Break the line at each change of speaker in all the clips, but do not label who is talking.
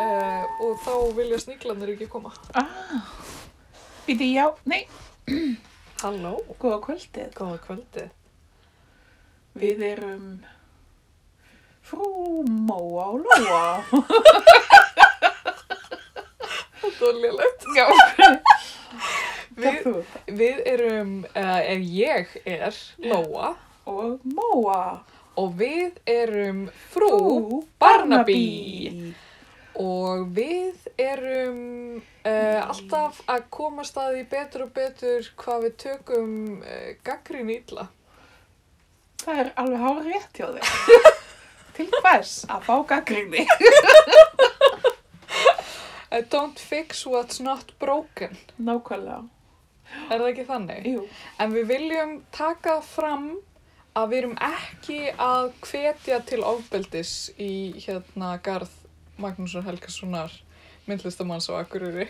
Eh, og þá vilja sniglanir ekki koma.
Ah, býti já, nei,
Halló,
góða kvöldið.
góða kvöldi.
Við erum frú Móa og Lóa.
Þetta var lélegt.
Já,
Við,
þú.
við erum, uh, ef ég er Lóa
Og Móa.
og við erum frú
Frú
Barnaby. og við erum uh, alltaf að komast að því betur og betur hvað við tökum uh, gaggrin ítla.
Það er alveg hár rétt hjá þig. Til hvers að fá gaggrinni?
I don't fix what's not broken.
Nákvæmlega.
Er það ekki þannig?
Jú.
En við viljum taka fram að við erum ekki að hvetja til ofbeldis í hérna Garð Magnússon Helgasonar myndlistamanns á Akureyri.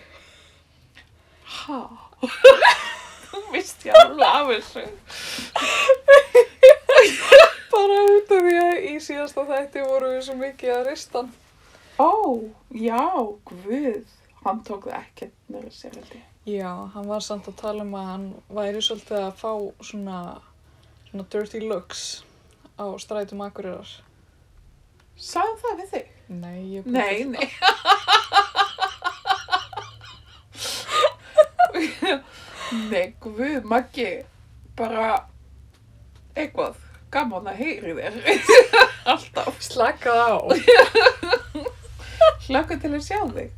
Há. Þú vist ég alveg af þessu.
Bara út af því að í síðasta þætti voru við svo mikið að ristan.
Ó, já, guð. Hann tók það ekkert með sér held ég.
Já, hann var samt að tala um að hann væri svolítið að fá svona, svona dirty looks á strætum Akureyrar.
Sagði hann það við þig?
Nei, ég
Nei, nei. nei, guð, Maggi, bara eitthvað gaman að heyri þér. Alltaf.
Slakað á.
Hlakka til að sjá þig.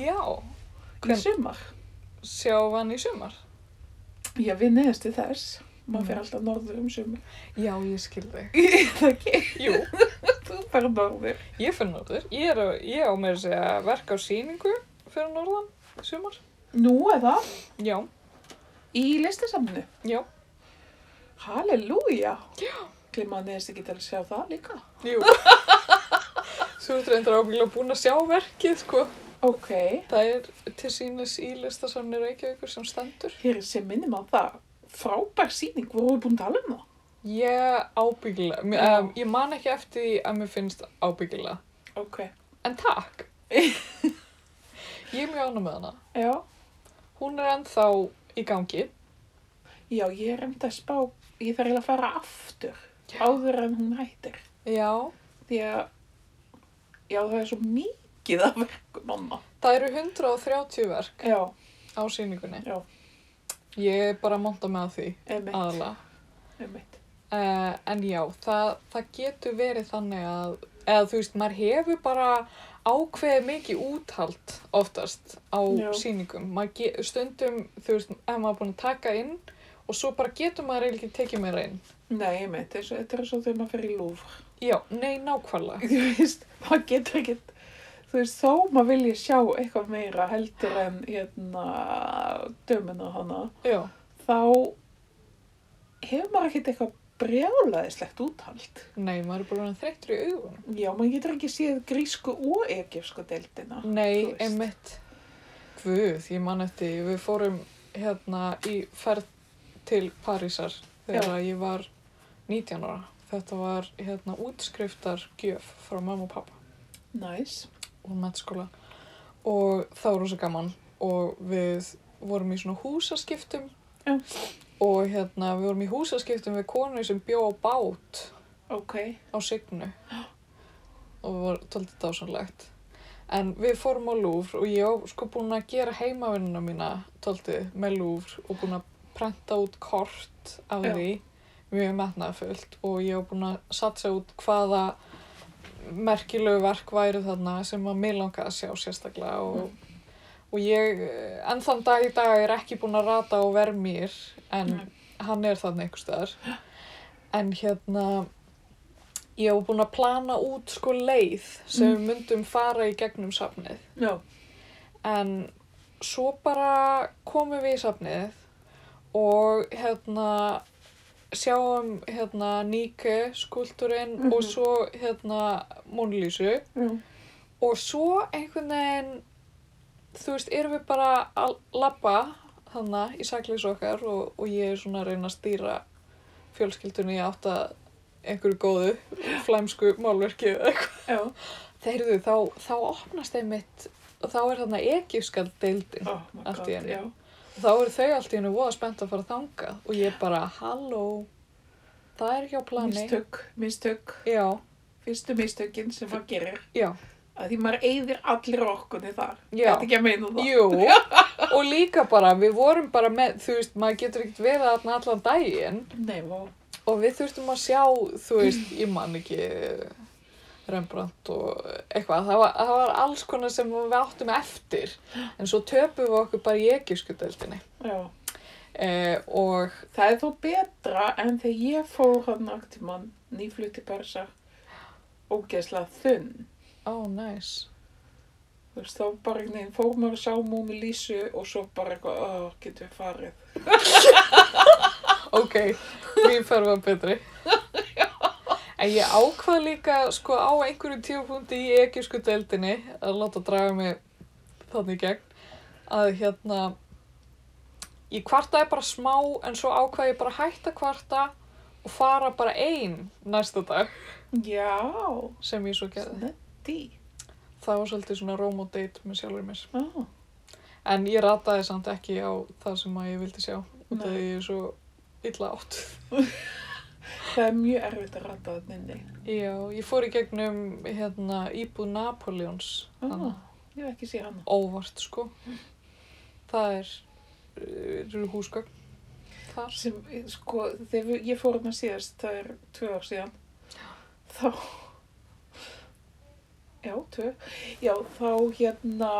Já,
Í
Hvern-
sumar.
sjá hann í sumar.
Já, við neðast til þess. Maður fyrir
Mm.
alltaf norður um sumar.
Já, ég skil þig.
Það ekki.
Jú.
Þú bara norður.
Ég fyrir norður. Ég, er, að- ég á meira að segja verk á síningu fyrir norðan í sumar.
Nú er það
Já,
í listasamnu.
já,
Halleluja. Já. Glimma að neðast ekki til að sjá það líka.
jú. Þú ert reyndar ábyggilega búin að sjá verkið, sko.
Ok.
Það er til sínis í listasafni Reykjavíkur sem stendur.
Hér sem minnum á það. Frábær síning, voru við búin að tala um það?
Ég ábyggilega, mér-
Já.
em, ég man ekki eftir því að mér finnst ábyggilega.
Ok.
En takk. Ég er mjög ánum með hana.
Já.
Hún er ennþá í gangi.
Já, ég er enda að spá, ég þarf eiginlega að fara aftur. Áður en hún hættir.
Já.
Því að, já það er svo mikið af verkum annað.
Það eru 130 verk
Já,
á síningunni.
Já.
Ég er bara að monta með því.
einmitt,
aðalega.
einmitt.
Uh, en já, það, það getur verið þannig að, eða þú veist, maður hefur bara ákveðið mikið úthald oftast á
Já.
sýningum. Maður ge, stundum, þú veist, ef maður er búin að taka inn og svo bara getur maður eiginlega ekki tekið meira inn.
Nei, einmitt, eins og- þetta er svo þegar maður fyrir í lúfr.
Já, nei, nákvæmlega.
Þú veist, maður getur ekkert, þú veist, þó maður vilja sjá eitthvað meira heldur en, hérna, dömuna hana,
Já,
þá hefur maður ekkert eitthvað brjálaðislegt úthald.
nei, maður er bara orðinn þreyttur í augunum.
Já, maður getur ekki séð grísku og egypsku deildina.
Nei,
Þú veist.
einmitt. Guð, ég man eftir, við fórum hérna í ferð til Parísar þegar ég var 19 ára. Þetta var hérna útskriftargjöf frá mamma og pappa
Næs.
og mennskóla og það var rosa gaman og við vorum í svona húsaskiptum
Já.
og hérna við vorum í húsaskiptum við konu sem bjó á bát
Ok.
á signu og var tóltið dásanlegt en við fórum á Louvre og ég var sko búin að gera heimavinnina mína tóltið með Louvre og búin að prenta út kort af
Já.
því mjög metnaðfullt og ég var búin að satsa út hvaða merkilegu verk væru þarna sem að mig langaði að sjá sérstaklega og, og ég eh, enn þann dag í dag er ekki búin að rata á vermir en
Nei.
hann er þarna einhvers staðar en hérna ég var búin að plana út sko leið sem við myndum fara í gegnum safnið
Já.
en svo bara komum við í safnið og hérna sjáum hérna Nike skúlturinn
Mhm.
og svo hérna Mona Lisa
Já.
og svo einhvern veginn þú veist, erum við bara að labba þarna í sakleysu okkar og, og ég er svona að reyna að stýra fjölskyldunni í átt að einhverju góðu flæmsku málverki eða eitthvað.
Já.
Þeirðu, þá, þá opnast einmitt og þá er þarna egypskald deildin
oh my
Allt í
god,
einu.
já.
og þá eru þau allt í hennu voða spennt að fara þangað og ég bara, halló það er ekki á plani
Mistök, mistök,
já,
fyrstu mistökin sem maður gerir.
já,
Að því maður eyðir allir orkunni þar.
Já.
Þetta ekki að meina það.
jú og líka bara, við vorum bara með þú veist, maður getur ekkert verið þarna allan daginn
Nei, vó.
og við þurftum að sjá, þú veist, ég man ekki Rembrandt og eitthvað, það var, það var alls konar sem við áttum eftir en svo töpum við okkur bara í egypskudeldinni
Já.
eh, og
Það er þó betra en þegar ég fór hann náttúrumann nýflutt í Persa ógeðslega þunn.
Ó, næs.
Þú veist, þá bara einhvern veginn fór maður að sjá múmi lísu og svo bara eitthvað, oh, getur við farið.
Ok, mín ferð var betri. En ég ákvað líka, sko, á einhverjum tíupunkti í ekjusku deildinni að láta draga mig þannig í gegn að hérna, ég kvartaði bara smá en svo ákvað ég bara að hætta að kvarta og fara bara ein næsta dag
Já,
sem ég svo gerði.
snetti.
Það var svolítið svona róm og date með sjálfur mér.
Já,
En ég rataði samt ekki á það sem að ég vildi sjá út af
Nei.
því ég er svo illa átt.
það er mjög erfitt að rata það inni.
Já, ég fór í gegnum hérna, íbúð Napoleons
Ah,
ah.
ég hef ekki séð hana.
óvart sko. Það er, eru húsgögn þar.
Sem, sko, þegar við- ég fór hana síðast, það er tvö ár síðan, þá, já, tvö, já, þá hérna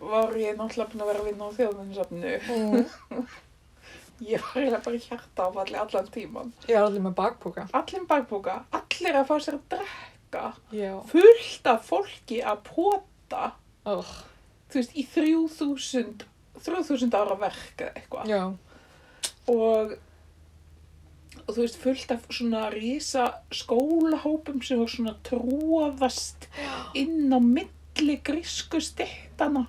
var ég náttúrulega búin að vera að vinna á þjóðminnusafnu.
Mm.
Ég var eiginlega bara í hjarta áfalli allan tíman.
Ég er allir með bakpoka.
Allir bakbúka, allir að fá sér að drekka,
Já.
fullt af fólki að pota,
Oh.
þú veist, í 3000, 3000 ára verk eða eitthvað.
Já.
og og þú veist fullt af svona rísa skólahópum sem var svona tróðast inn á milli grísku stittana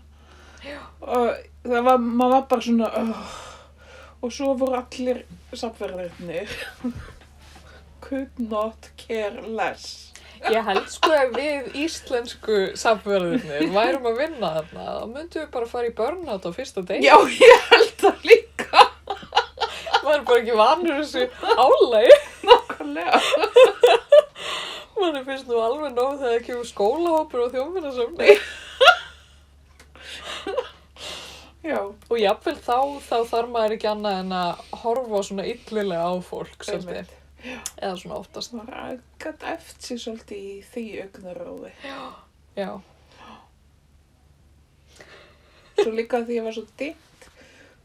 og það var, maður var bara svona oh. og svo voru allir samverðirnir could not care less
Ég held sko að við íslensku samverðinni værum að vinna þarna. Þá myndum við bara fara í burnout á fyrsta degi.
já ég held það líka
Maður er bara ekki vanur þessu álægi.
nákvæmlega
Maður finnst nú alveg nóg þegar það kemur skólahópur og þjóminnasamni.
já
Og jafnvel þá, þá þarf maður ekki annað en að horfa svona illilega á fólk sem
einmitt.
þið, eða svona oftast.
það var aðgat eftir sér svolítið í því augnaróði
Já,
Svo líka því ég var svo dimt,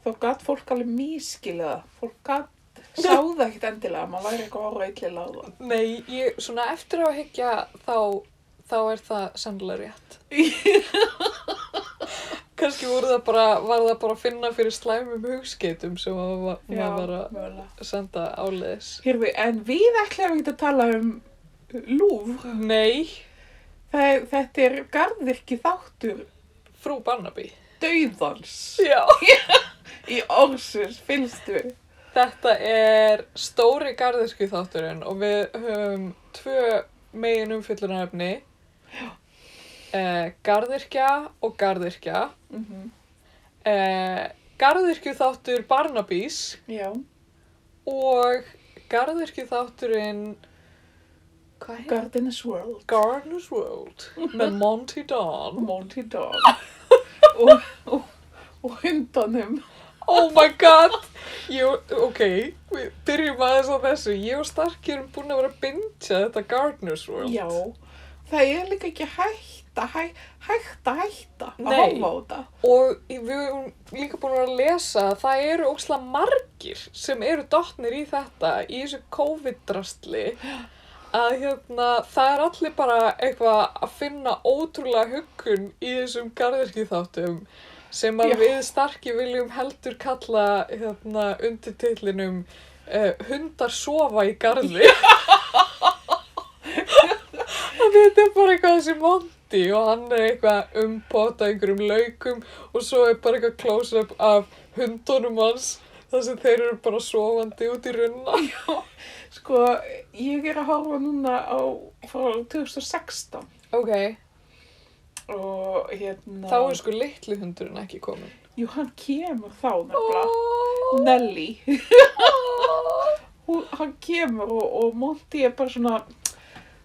þá gætt fólk alveg mískilið það. Fólk gætt, sá það ekkert endilega, maður væri eitthvað að horfa illilega á það.
nei, ég, svona eftir á að higgja þá, þá er það sennilega rétt. Kanski voru það bara, var það bara að finna fyrir slæmum hugskeitum sem maður var, maður var að
mögulega.
senda áleiðis.
Hérfi, en við ætlum ekki að tala um lúf.
Nei,
Það, þetta er garðvirki þáttur
frú Barnaby.
dauðans
Já.
í orsins, finnstu við?
Þetta er stóri garðirski þátturinn og við höfum tvö megin umfyllunarefni. Eh, garðirkja og garðirkja.
Mm -hmm.
Eh, garðirkju þáttur Barnabís
Já,
og garðirkju þátturinn... Hvað heitir?
Gardener's World,
Gardener's World með Monty Don.
Monty Dog og, og, og hundanum.
Oh my god! Ég, ok, við byrjum aðeins á þessu. Ég og Starki erum búin að vera að bingja þetta Gardener's World.
Já, það er líka ekki hægt að hæ, hægt að hætta að
Nei.
horfa á þetta.
Og við erum líka búin að vera að lesa að það eru ókslega margir sem eru dottnir í þetta, í þessu COVID-drastli, að hérna, það er allir bara eitthvað að finna ótrúlega huggun í þessum garðirkiþáttum sem að
Já.
við starki viljum heldur kalla hérna, undir titlinum uh, hundar sofa í garði. Þannig þetta er bara eitthvað þessi Monty og hann er eitthvað umpota einhverjum laukum og svo er bara eitthvað close-up af hundunum hans þar sem þeir eru bara sofandi út í runna.
Sko, ég er að horfa núna á frá 2016
Ok,
og hérna
Þá er sko litli hundurinn ekki komin.
Jú, hann kemur þá nefnilega
Oh,
Nelly Hún- hann kemur og, og Monty er bara svona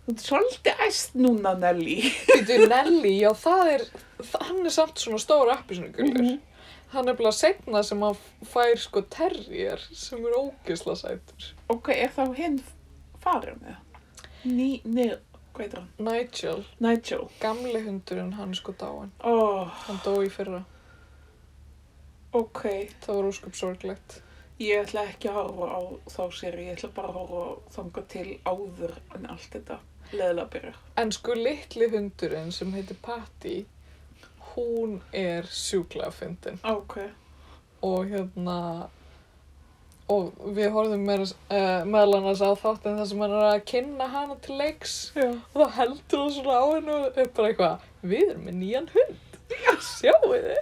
þú ert svolítið æst núna Nelly
Býtu Nelly, já það er, þa- hann er samt svona stór appisnugullur.
Mhm.
Hann er bara setna sem að fær sko terrier sem er ógisla sætur.
ok, er þá hinn farin með ný, ný, hvað heitir hann?
Nigel,
Nigel
gamli hundurinn, hann er sko dáinn.
oh,
Hann dó í fyrra.
ok,
Það var ósköp sorglegt.
ég ætla ekki að horfa á þá séri, ég ætla bara að horfa þanga til áður en allt þetta leðilega byrjar
En sko litli hundurinn sem heitir Patty, hún er sjúklega fyndin.
ok,
Og hérna, og við horfum með, uh, meðal annars á þáttinn þar sem hann er að kynna hana til leiks.
já
Og þá heldur hún svona á henni og er bara eitthvað, við erum með nýjan hund. Sjáu þið?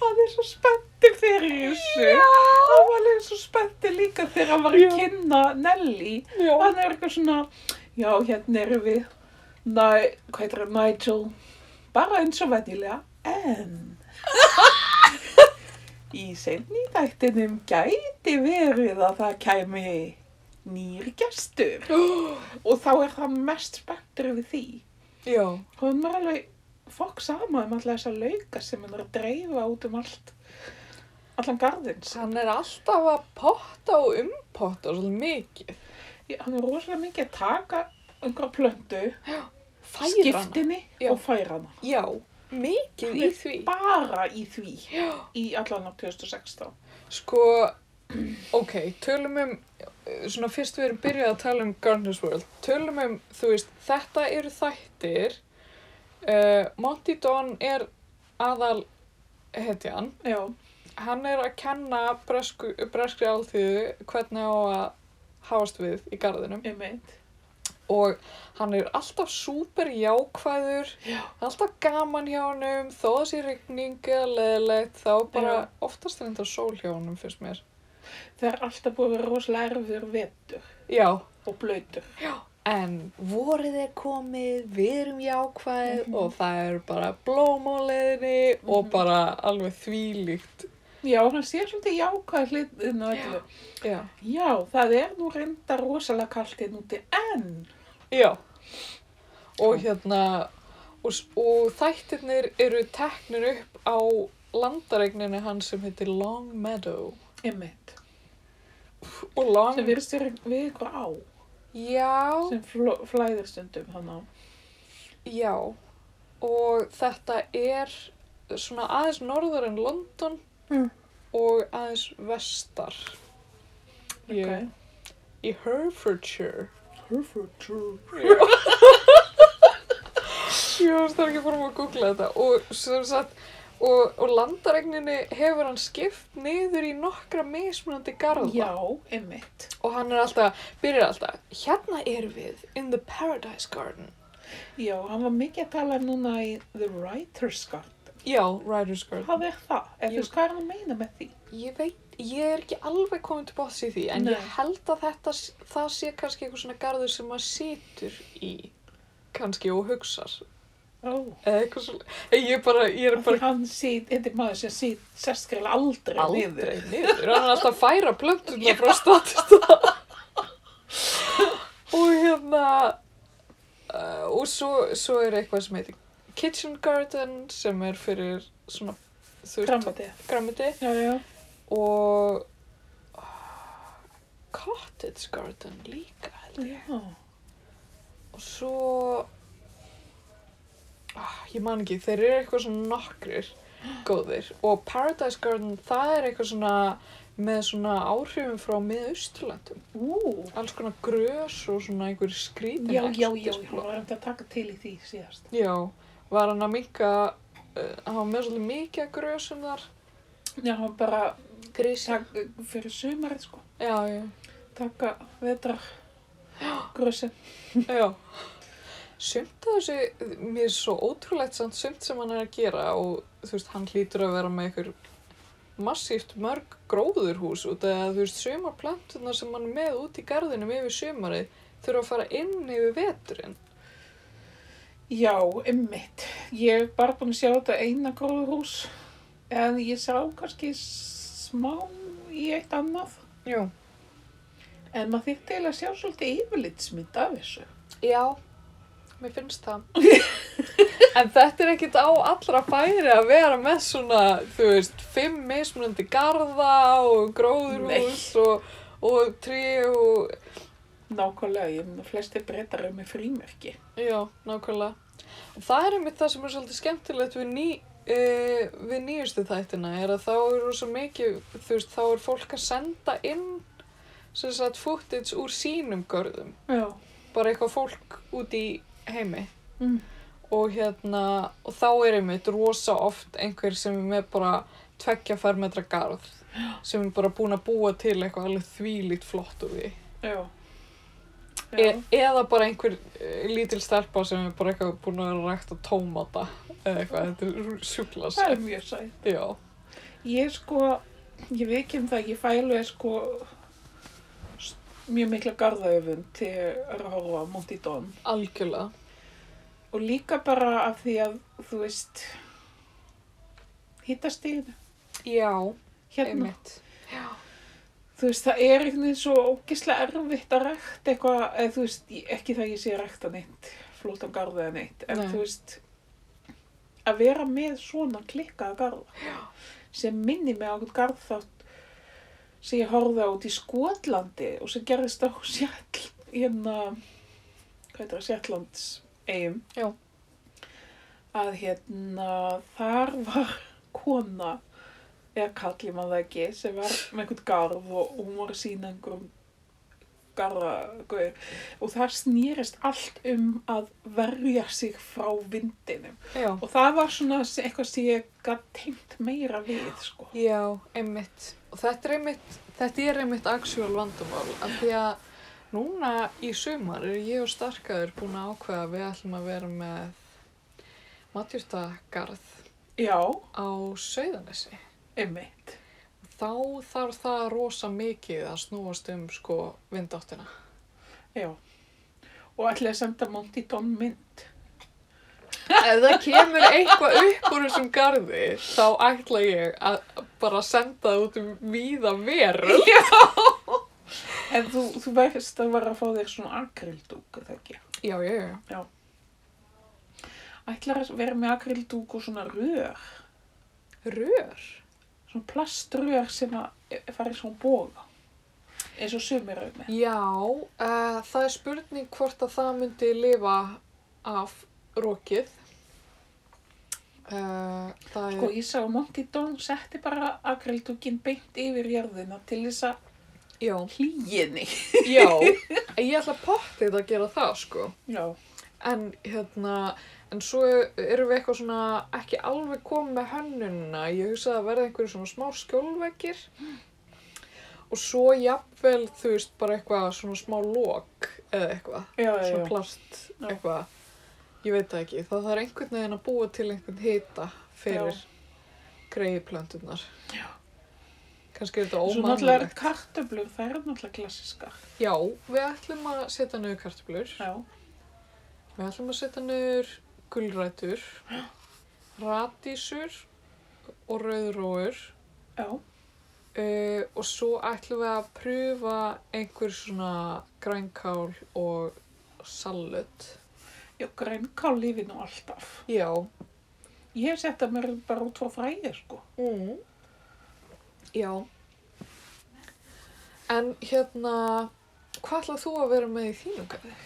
hann er svo spenntur fyrir þessu
Já.
hann var alveg svo spenntur líka þegar hann var
Já.
að kynna Nelly
Já.
hann er eitthvað svona já, hérna erum við Næ, hvað heitir það, Nigel bara eins og venjulega en í seinni þættinum gæti verið að það kæmi nýr gestur og þá er það mest spenntur við því
Já.
Hún var alveg fokk sama um alltaf þessa lauka sem hann er að dreifa út um allt. Allan garðins.
Hann er alltaf að potta og umpotta svolítið mikið.
Ég- Hann er rosalega mikið að taka einhverja plöntu,
Færa hana.
skiptinni
Já.
og færa hana.
Já, mikið
Hann
í
er
því.
Bara í því.
Já.
Í allan á 2016.
Sko, ok, tölum um, eh, svona fyrst við erum byrjað að tala um Gardeners World, tölum um, þú veist, þetta eru þættir, uh, Monty Don er aðal hetjan,
Já.
hann er að kenna bresku, breskri alþýðu hvernig á að hafast við í garðinum
Ég meint.
og hann er alltaf súper jákvæður,
Já.
alltaf gaman hjá honum, þó að sé rigning eða leðilegt, þá bara
Já.
oftast er þetta sól hjá honum fyrst mér.
Það er alltaf búið að vera rosalega erfur vetur
Já,
og blöytur.
En vorið er komið, við erum jákvæð
Mhm.
og það eru bara blóm á leiðinni og bara alveg þvílíkt.
Já, hann sé svolítið jákvæð hliðin og öllu.
Já.
Já, það er nú reynda rosalega kalt inn úti en
Já. Og hérna, og, s- og þættirnir eru teknir upp á landareigninni hans sem heitir Long Meadow.
ég meint.
Og Long...
sem virðist vera við ykkur á
Já,
sem fló- flæðir stundum hann á
já. Og þetta er svona aðeins norðar en London
Mm.
og aðeins vestar. Ég-
Ok.
Í Herefordshire. Ég var starf ekki fórum að googla þetta og sem sagt og, og landaregninni hefur hann skipt niður í nokkra mismunandi garða
já, einmitt
og hann er alltaf, byrjar alltaf hérna erum við in the paradise garden
já, hann var mikið að tala um núna í The Writer's Garden
já, writer's garden
hvað er það? eða þú veist hvað er hann að meina með því?
ég veit, ég er ekki alveg komin til bóðs í því en
Nei.
ég held að þetta s- það sé kannski eitthvað svona garður sem maður situr í kannski og hugsar
ó
eða eitthvað svona ég, er bara, ég er
Af því
bara
hann sýt, þetta er maður sem sýt sestkriðlega aldrei, niður.
aldrei niður hann er alltaf að færa plönturna frá statista og hérna uh, og svo, svo er eitthvað sem heitir Kitchen Garden sem er fyrir svona þú veist,
Grammati.
grammiti
Já, já.
og uh, Cottage Garden líka held ég
já.
og svo ah, ég man ekki, þeir eru eitthvað svona nokkrir góðir og Paradise Garden það er eitthvað svona með svona áhrifum frá miðausturlandum,
Ú,
alls konar grös og svona einhver skrítin
já, já, já,
exotisk
hann
blóm.
var reyndi að taka til í því síðast.
já, var hann að minka uh, hann var með svolítið mikið af grösum þar
Já, hann bara
grísi,
tak, fyrir sumarið, sko,
já, já
taka vetrar, grössin.
Já. Sumt af þessu, mér er svo ótrúlegt samt sumt sem hann er að gera og þú veist, hann hlýtur að vera með einhver massíft mörg gróðurhús út að þú veist, sumar plantuna sem hann er með út í garðinum yfir sumarið þurfa að fara inn yfir veturinn.
Já, einmitt. Ég er bara búin að sjá þetta eina gróðurhús en ég sá kannski smá í eitt annað
Jú.
en maður þyrfti eiginlega að sjá svolítið yfirlitsmynd af þessu.
Já, mér finnst það. en þetta er ekkit á allra færi að vera með svona, þú veist, fimm mismunandi garða og gróðurhús og, og trí og,
Nákvæmlega, ég meina flesti breytar um með frímerki.
já, nákvæmlega. Og það er einmitt það sem er svolítið skemmtilegt við ný, uh, við nýjustu þættina er að þá er rosa mikið, þú veist, þá er fólk að senda inn sem sagt footage úr sínum görðum.
Já.
Bara eitthvað fólk út í heimi.
Mm.
og hérna og þá er einmitt rosa oft einhver sem er með bara tveggja fermetra garð sem er bara búin að búa til eitthvað alveg þvílít flott úr því
Já.
e eða bara einhver e, lítil stelpa sem er bara eitthvað búin að rækta tómata eða eitthvað, þetta er sjúkla
það er mjög sætt.
já,
Ég sko, ég veikim það, ég fæ alveg sko s- mjög mikla garðaöfund til að horfa á Monty Don
algjörlega
og líka bara af því að, þú veist, hittastíðinu,
já,
hérna,
einmitt
þú veist, það er einhvern veginn svo ógislega erfitt að rækta eitthvað, eða þú veist, ég- ekki það ég sé að rækta neitt, flótan garða eða neitt, en
Nei.
þú veist, að vera með svona klikkaða garða, sem minni mig á einhvern garðþátt sem ég horfði á út í Skotlandi og sem gerðist á Sjall, hérna, hvað heitir það, Sjallands eigum.
Já.
Að hérna, þar var kona, eða kalli maður það ekki, sem var með einhvern garð og og hún var að sína einhverjum garðagauður og það snýrist allt um að verja sig frá vindinum
já,
og það var svona se- eitthvað sem ég gætt tengt meira við sko.
já, einmitt og þetta er einmitt þetta er einmitt actual vandamál af því að núna í sumar er ég og starkaður búin að ákveða að við ætlum að vera með matjúrtagarð
Já,
á Sauðanesi
einmitt.
þá þarf það rosa mikið að snúast um sko vindáttina
Já. Og ætlaði að senda Monty Don mynd.
ef það kemur eitthvað upp úr þessum garði þá ætla ég að bara senda það út um víða verð
En þú, þú verðist að vera að fá þér svona akrildúk, það ekki?
já, já, já,
Ætlar að vera með akrildúk og svona rör,
rör
svona plaströr sem að e- fara í svona boga. Eins og sumir eru með.
Já, uh, það er spurning hvort að það myndi lifa af rokið. Uh, það
Sko
er,
ég sá að Monty Don setti bara akrildúkin beint yfir jörðina til þess að
já,
hlýjinni.
já, En ég ætla pottið að gera það sko.
Já.
En hérna, en svo erum við eitthvað svona ekki alveg komið með hönnunina. Ég hugsaði að verða einhverju svona smá skjólveggir og svo jafnvel, þú veist, bara eitthvað svona smá lok eða eitthvað.
Já, já,
svona
já.
plast
Já.
eitthvað, ég veit það ekki það þarf einhvern veginn að búa til einhvern hita fyrir
Já.
greiðplöntunar kannski er þetta
Svo náttúrulega er
ómannilegt
kartöblur, það eru náttúrulega klassiskar.
já, við ætlum að setja niður kartöflur
Já.
við ætlum að setja niður gulrætur radísur og rauðróur
Já.
uh, og svo ætlum við að pröfa einhver svona grænkál og salut
Já, grænkál lífi nú alltaf.
já,
Ég hef sett að mér bara út frá fræði, sko.
Mm. Já. En hérna, hvað ætlað þú að vera með í þínum garði?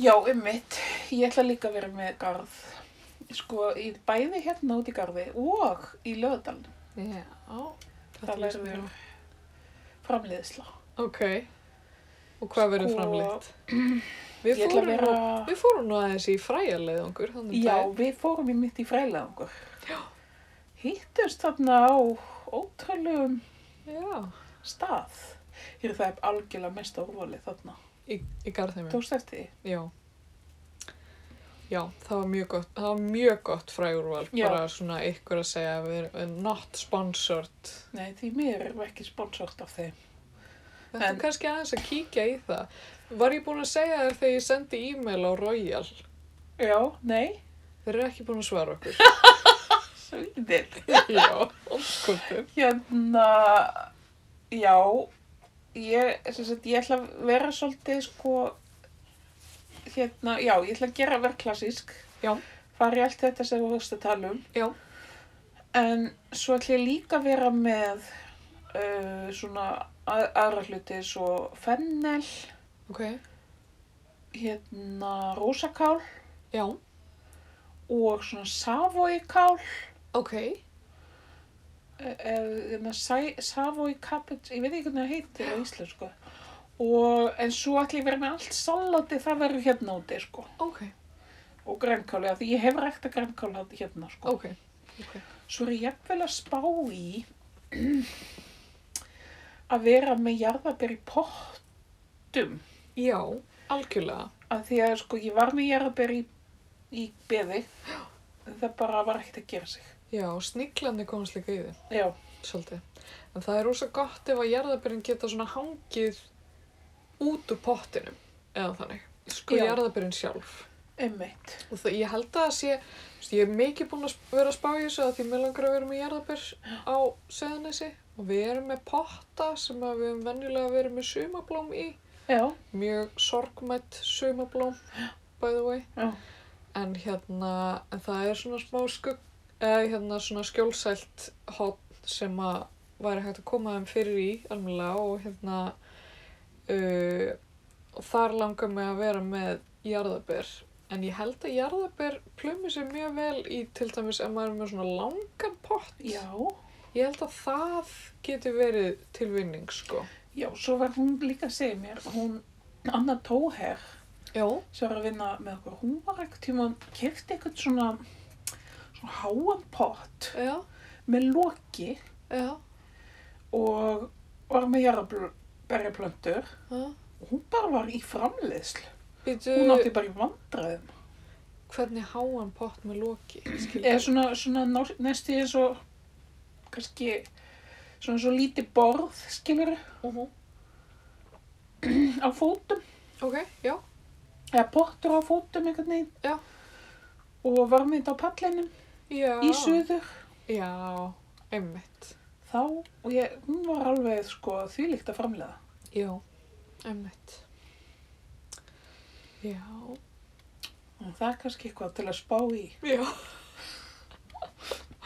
Já, einmitt. Ég ætla líka að vera með garð. Sko, í bæði hérna út í garði og í löðdaln.
Já. Þetta
Það
lýsir
verður
mér á.
framleiðisla.
Ok. Og hvað verður
Sko,
framleitt? Við
Ég ætla
fórum,
að
vera...
vera...
við fórum nú aðeins í fræjarleiðungur.
Já, við fórum í mitt í fræðilegangur. Já. Hittust þarna á ótrúlegum
Já,
stað. Hér það er algjörlega mesta úrvalið þarna.
í, í garðheimi.
Tókst eftir því?
Já. Já, það var mjög gott, það var mjög gott fræjúrval,
Já.
bara svona ykkur að segja að við erum not sponsored.
Nei, því mér erum við ekki sponsort af þeim.
Þetta er
En-
kannski aðeins að kíkja í það. Var ég búin að segja þér þegar ég sendi e-mail á Royal
Já, nei.
Þeir eru ekki búin að svara okkur.
Svíðir.
Já, óskutin.
Hérna, já, ég, sem sagt, ég ætla að vera svolítið, sko, hérna, já, ég ætla að gera að vera klassísk.
Já.
Fara í allt þetta sem við höfst að tala um.
Já.
En svo ætla ég líka að vera með uh, svona að, aðra hluti, svo fennel,
Ok,
hérna, rósakál
já,
og svona savoikál,
ok.
e-, eða Savoy Cabbage, hérna, ég veit ekki hvernig það heitir á íslensku og en svo ætla ég að vera með allt salati það verður hérna úti sko
Ok,
og grænkáli af því ég hef rækta grænkáli hérna sko
ok. Ok,
svo er ég jafnvel að spá í að vera með jarðabér í pottum
já, algjörlega.
af því að sko ég var með jarðabér í, í beði það bara var ekkert að gera sig
Já, sniglandi komast líka í þið,
já,
svolítið. En það er rosa gott ef að jarðabyrjun geta svona hangið út úr pottinum, eða þannig. Sko
Já.
jarðabyrjun sjálf.
einmitt
Og það, ég held að það sé, þú veist, ég er mikið búin að sp- vera að spá í þessu að því mér langar að vera með jarðabér á söðanessi og við erum með potta sem að við höfum venjulega verið með sumablóm í,
já,
mjög sorgmætt sumablóm, by the way,
já,
en hérna, en það er svona smá skugg, eða hérna svona skjólsælt hotn sem að væri hægt að koma þeim fyrir í alveg og hérna, uh, og þar langar mig að vera með jarðabér En ég held að jarðabér plumi sér mjög vel í til dæmis ef maður er með svona langan pott.
já
Ég held að það geti verið tilvinning, sko.
Já, svo var hún líka að segja mér, hún, Anna Tóher,
Já.
sem var að vinna með okkur, hún var ekkert tíma, kefti eitthvað svona, svona háan pott
Já,
með loki
já,
og var með jarðberjaplöntur
já.
og hún bara var í framleiðslu.
Býtu,
Hún átti bara í vandræðum.
hvernig háan pott með loki? skildi?
Eða svona, svona nor- næstu eins og, kannski, svona svo lítið borð, skilur,
Mhm.
á fótum.
Ok, já,
Eða pottur á fótum einhvern veginn.
Já.
Og var með þetta á pallinum
já.
í suður.
Já, einmitt.
þá og ég, hún var alveg sko þvílíkt að framlega.
Já, einmitt. Já.
Og það er kannski eitthvað til að spá í.
Já.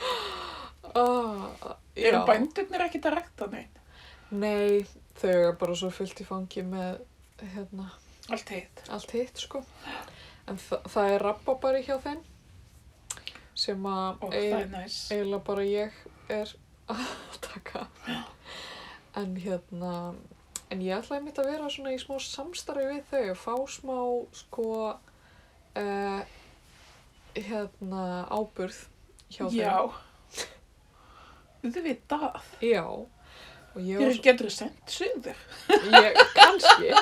Ah, já.
Eru bændurnir ekkit að rækta neitt?
Nei, þau eru bara svo fullt í fangi með hérna,
Allt heitt.
allt hitt sko. En þa það er rababari hjá þeim sem að
Og það er
eig-
næs.
eiginlega bara ég er að taka. En hérna, en ég ætlaði mitt að vera svona í smá samstarfi við þau og fá smá sko eh, hérna áburð hjá
Já.
þeim.
Þú veit það.
Já. Og ég
Ég
var
er getur sendt suður.
Ég, kannski.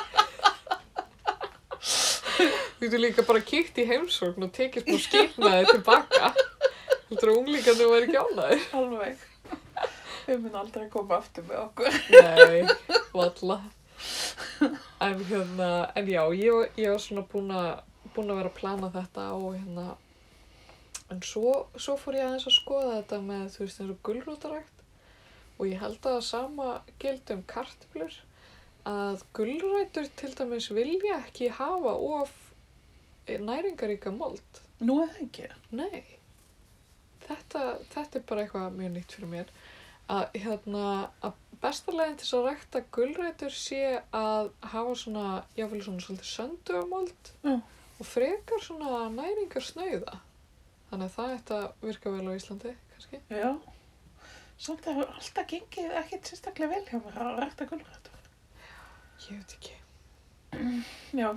Þú getur líka bara kíkt í heimsókn og tekið smá skipnaði tilbaka. Heldur að unglingarnir væri ekki ánæður?
Alveg. Þau mun aldrei koma aftur með okkur.
Nei, valla. En hérna, en já, ég, var- ég var svona búin að, búin að vera að plana þetta og hérna, en svo, svo fór ég aðeins að skoða þetta með, þú veist, eins og gulrótarækt og ég held að það sama gildi um kartöflur að gulrætur til dæmis vilja ekki hafa of næringaríka mold.
Nú er það ekki.
Nei, þetta, þetta er bara eitthvað mjög nýtt fyrir mér. Að, hérna, að besta leiðin til þess að rækta gulrætur sé að hafa svona, jáfnvel svona svolítið söndugamold
Já.
og frekar svona næringarsnauða. Þannig að það ætti að virka vel á Íslandi, kannski.
Já. Samt það hefur alltaf gengið ekkit sérstaklega vel hjá mér að rækta gulrætur.
Ég veit ekki.
Já.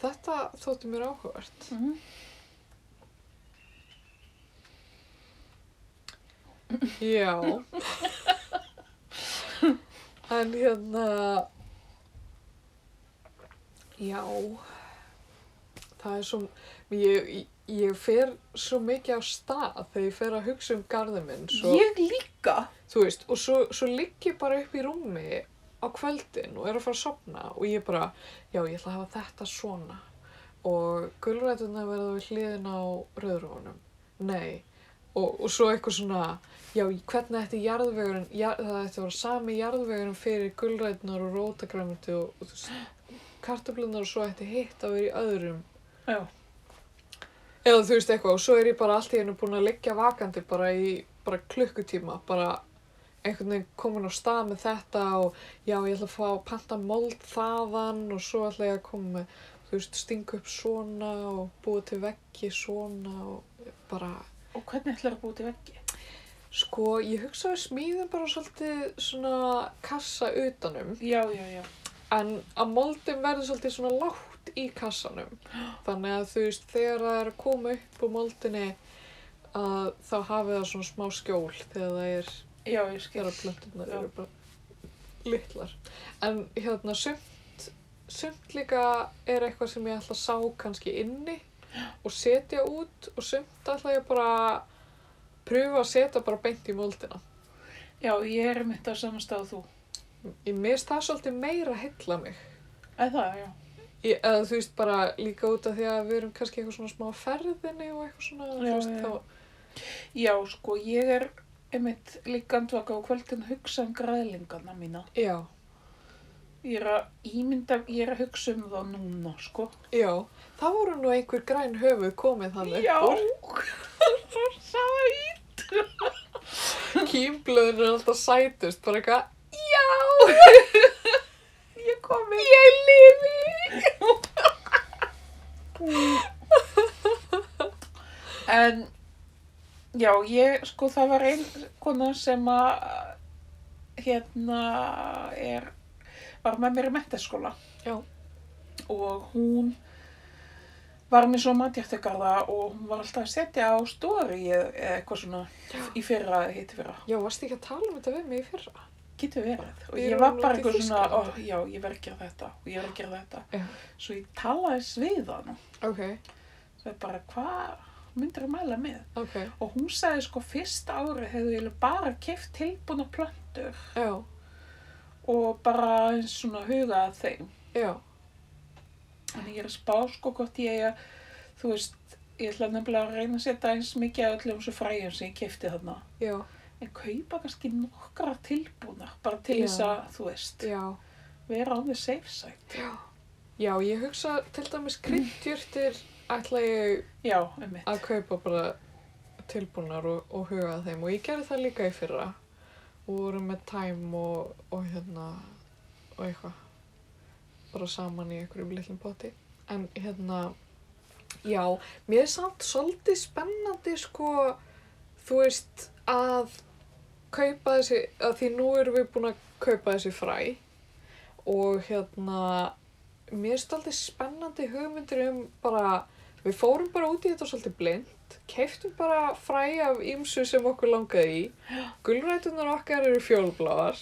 Þetta þótti mér áhugavert.
Mm.
Já. en hérna, já, það er svo, ég, ég fer svo mikið á stað þegar ég fer að hugsa um garðin minn. Svo,
Ég líka.
Þú veist, og svo, svo ligg ég bara upp í rúmi á kvöldin og er að fara að sopna og ég bara, já, ég ætla að hafa þetta svona og gulrætunar verða við hliðin á rauðrófunum. Nei. Og, og svo eitthvað svona, já, hvernig ætti jarðvegurinn, jar, það ætti að vera sami jarðvegurinn fyrir gulrætunar og rótagræmiti og, og þú veist, kartöflunar og svo ætti hitt að vera í öðrum.
Já.
Eða þú veist eitthvað, og svo er ég bara allt í hennu búin að liggja vakandi bara í bara klukkutíma, bara einhvern veginn komin á stað með þetta og já, ég ætla að fá panta mold þaðan og svo ætla ég að koma með, þú veist, stinga upp svona og búa til veggi svona og bara,
Og hvernig ætlar að búa til veggi?
sko, ég hugsa að við smíðum bara svolítið svona kassa utanum
Já, já, já.
en að moldin verður svolítið svona lágt í kassanum þannig að þú veist þegar það er að koma upp úr moldinni að þá hafi það svona smá skjól þegar það er
Já, ég skil.
þegar plöntunar
Já.
eru bara litlar en hérna sumt sumt líka er eitthvað sem ég ætla að sá kannski inni og setja út og sumt ætla ég bara að pröfa að setja bara beint í moldina
Já, ég er mitt á saman stað og þú.
ég mist það svolítið meira heilla mig
Eða það, já.
ég, eða þú veist bara líka út af því að við erum kannski eitthvað svona smá á ferðinni og eitthvað svona þú
Já,
veist,
já.
þá,
Já, sko, ég er einmitt líka andvaka á kvöldin að hugsa um græðlingana mína.
já,
Ég er að ímynda, ég er að hugsa um það núna, sko.
já þá voru nú einhver græn höfuð komið þannig
Já,
upp úr.
það var sæt.
Kýmblöðin er alltaf sætust, bara eitthvað, já,
Ég komi.
ég lifi.
En, já, ég, sko, það var ein kona sem að, hérna, er, var með mér í mentaskóla.
Já.
Og hún var með svo matjartegarða og hún var alltaf að setja á stóri eða eitthvað svona í fyrra, hitt fyrra.
Já, varst ekki að tala um þetta við mig í fyrra?
Getur verið. Og
Við
ég
erum
var
nú
bara
út í
eitthvað svona, ó,
Þýskalandi.
já, ég verð að gera þetta og ég verð að gera þetta.
Já.
Svo ég talaði svið hana.
Ok,
Það er bara, hvað myndir að mæla með?
ok,
Og hún sagði sko fyrsta ári hefðu ég bara keft tilbúna plöntur
já,
og bara eins svona huga að þeim.
já,
En ég er að spá sko hvort ég eigi að, þú veist, ég ætla nefnilega að reyna að setja eins mikið af öllum þessu fræjum sem ég kefti þarna.
já,
En kaupa kannski nokkra tilbúna, bara til
Já.
þess að, þú veist,
já.
vera á því safe side.
Já, ég hugsa til dæmis kryddjurtir ætla ég
Já, um
að kaupa bara tilbúnar og, og huga að þeim og ég gerði það líka í fyrra og vorum með tæm og, og hérna og eitthvað bara saman í einhverjum litlum poti en hérna já, mér er samt svolítið spennandi sko þú veist að kaupa þessi, að því nú erum við búin að kaupa þessi fræ og hérna mér er svolítið spennandi hugmyndir um bara, við fórum bara út í þetta svolítið blind, keiftum bara fræ af ýmsu sem okkur langaði í gulrætunar okkar eru fjólbláar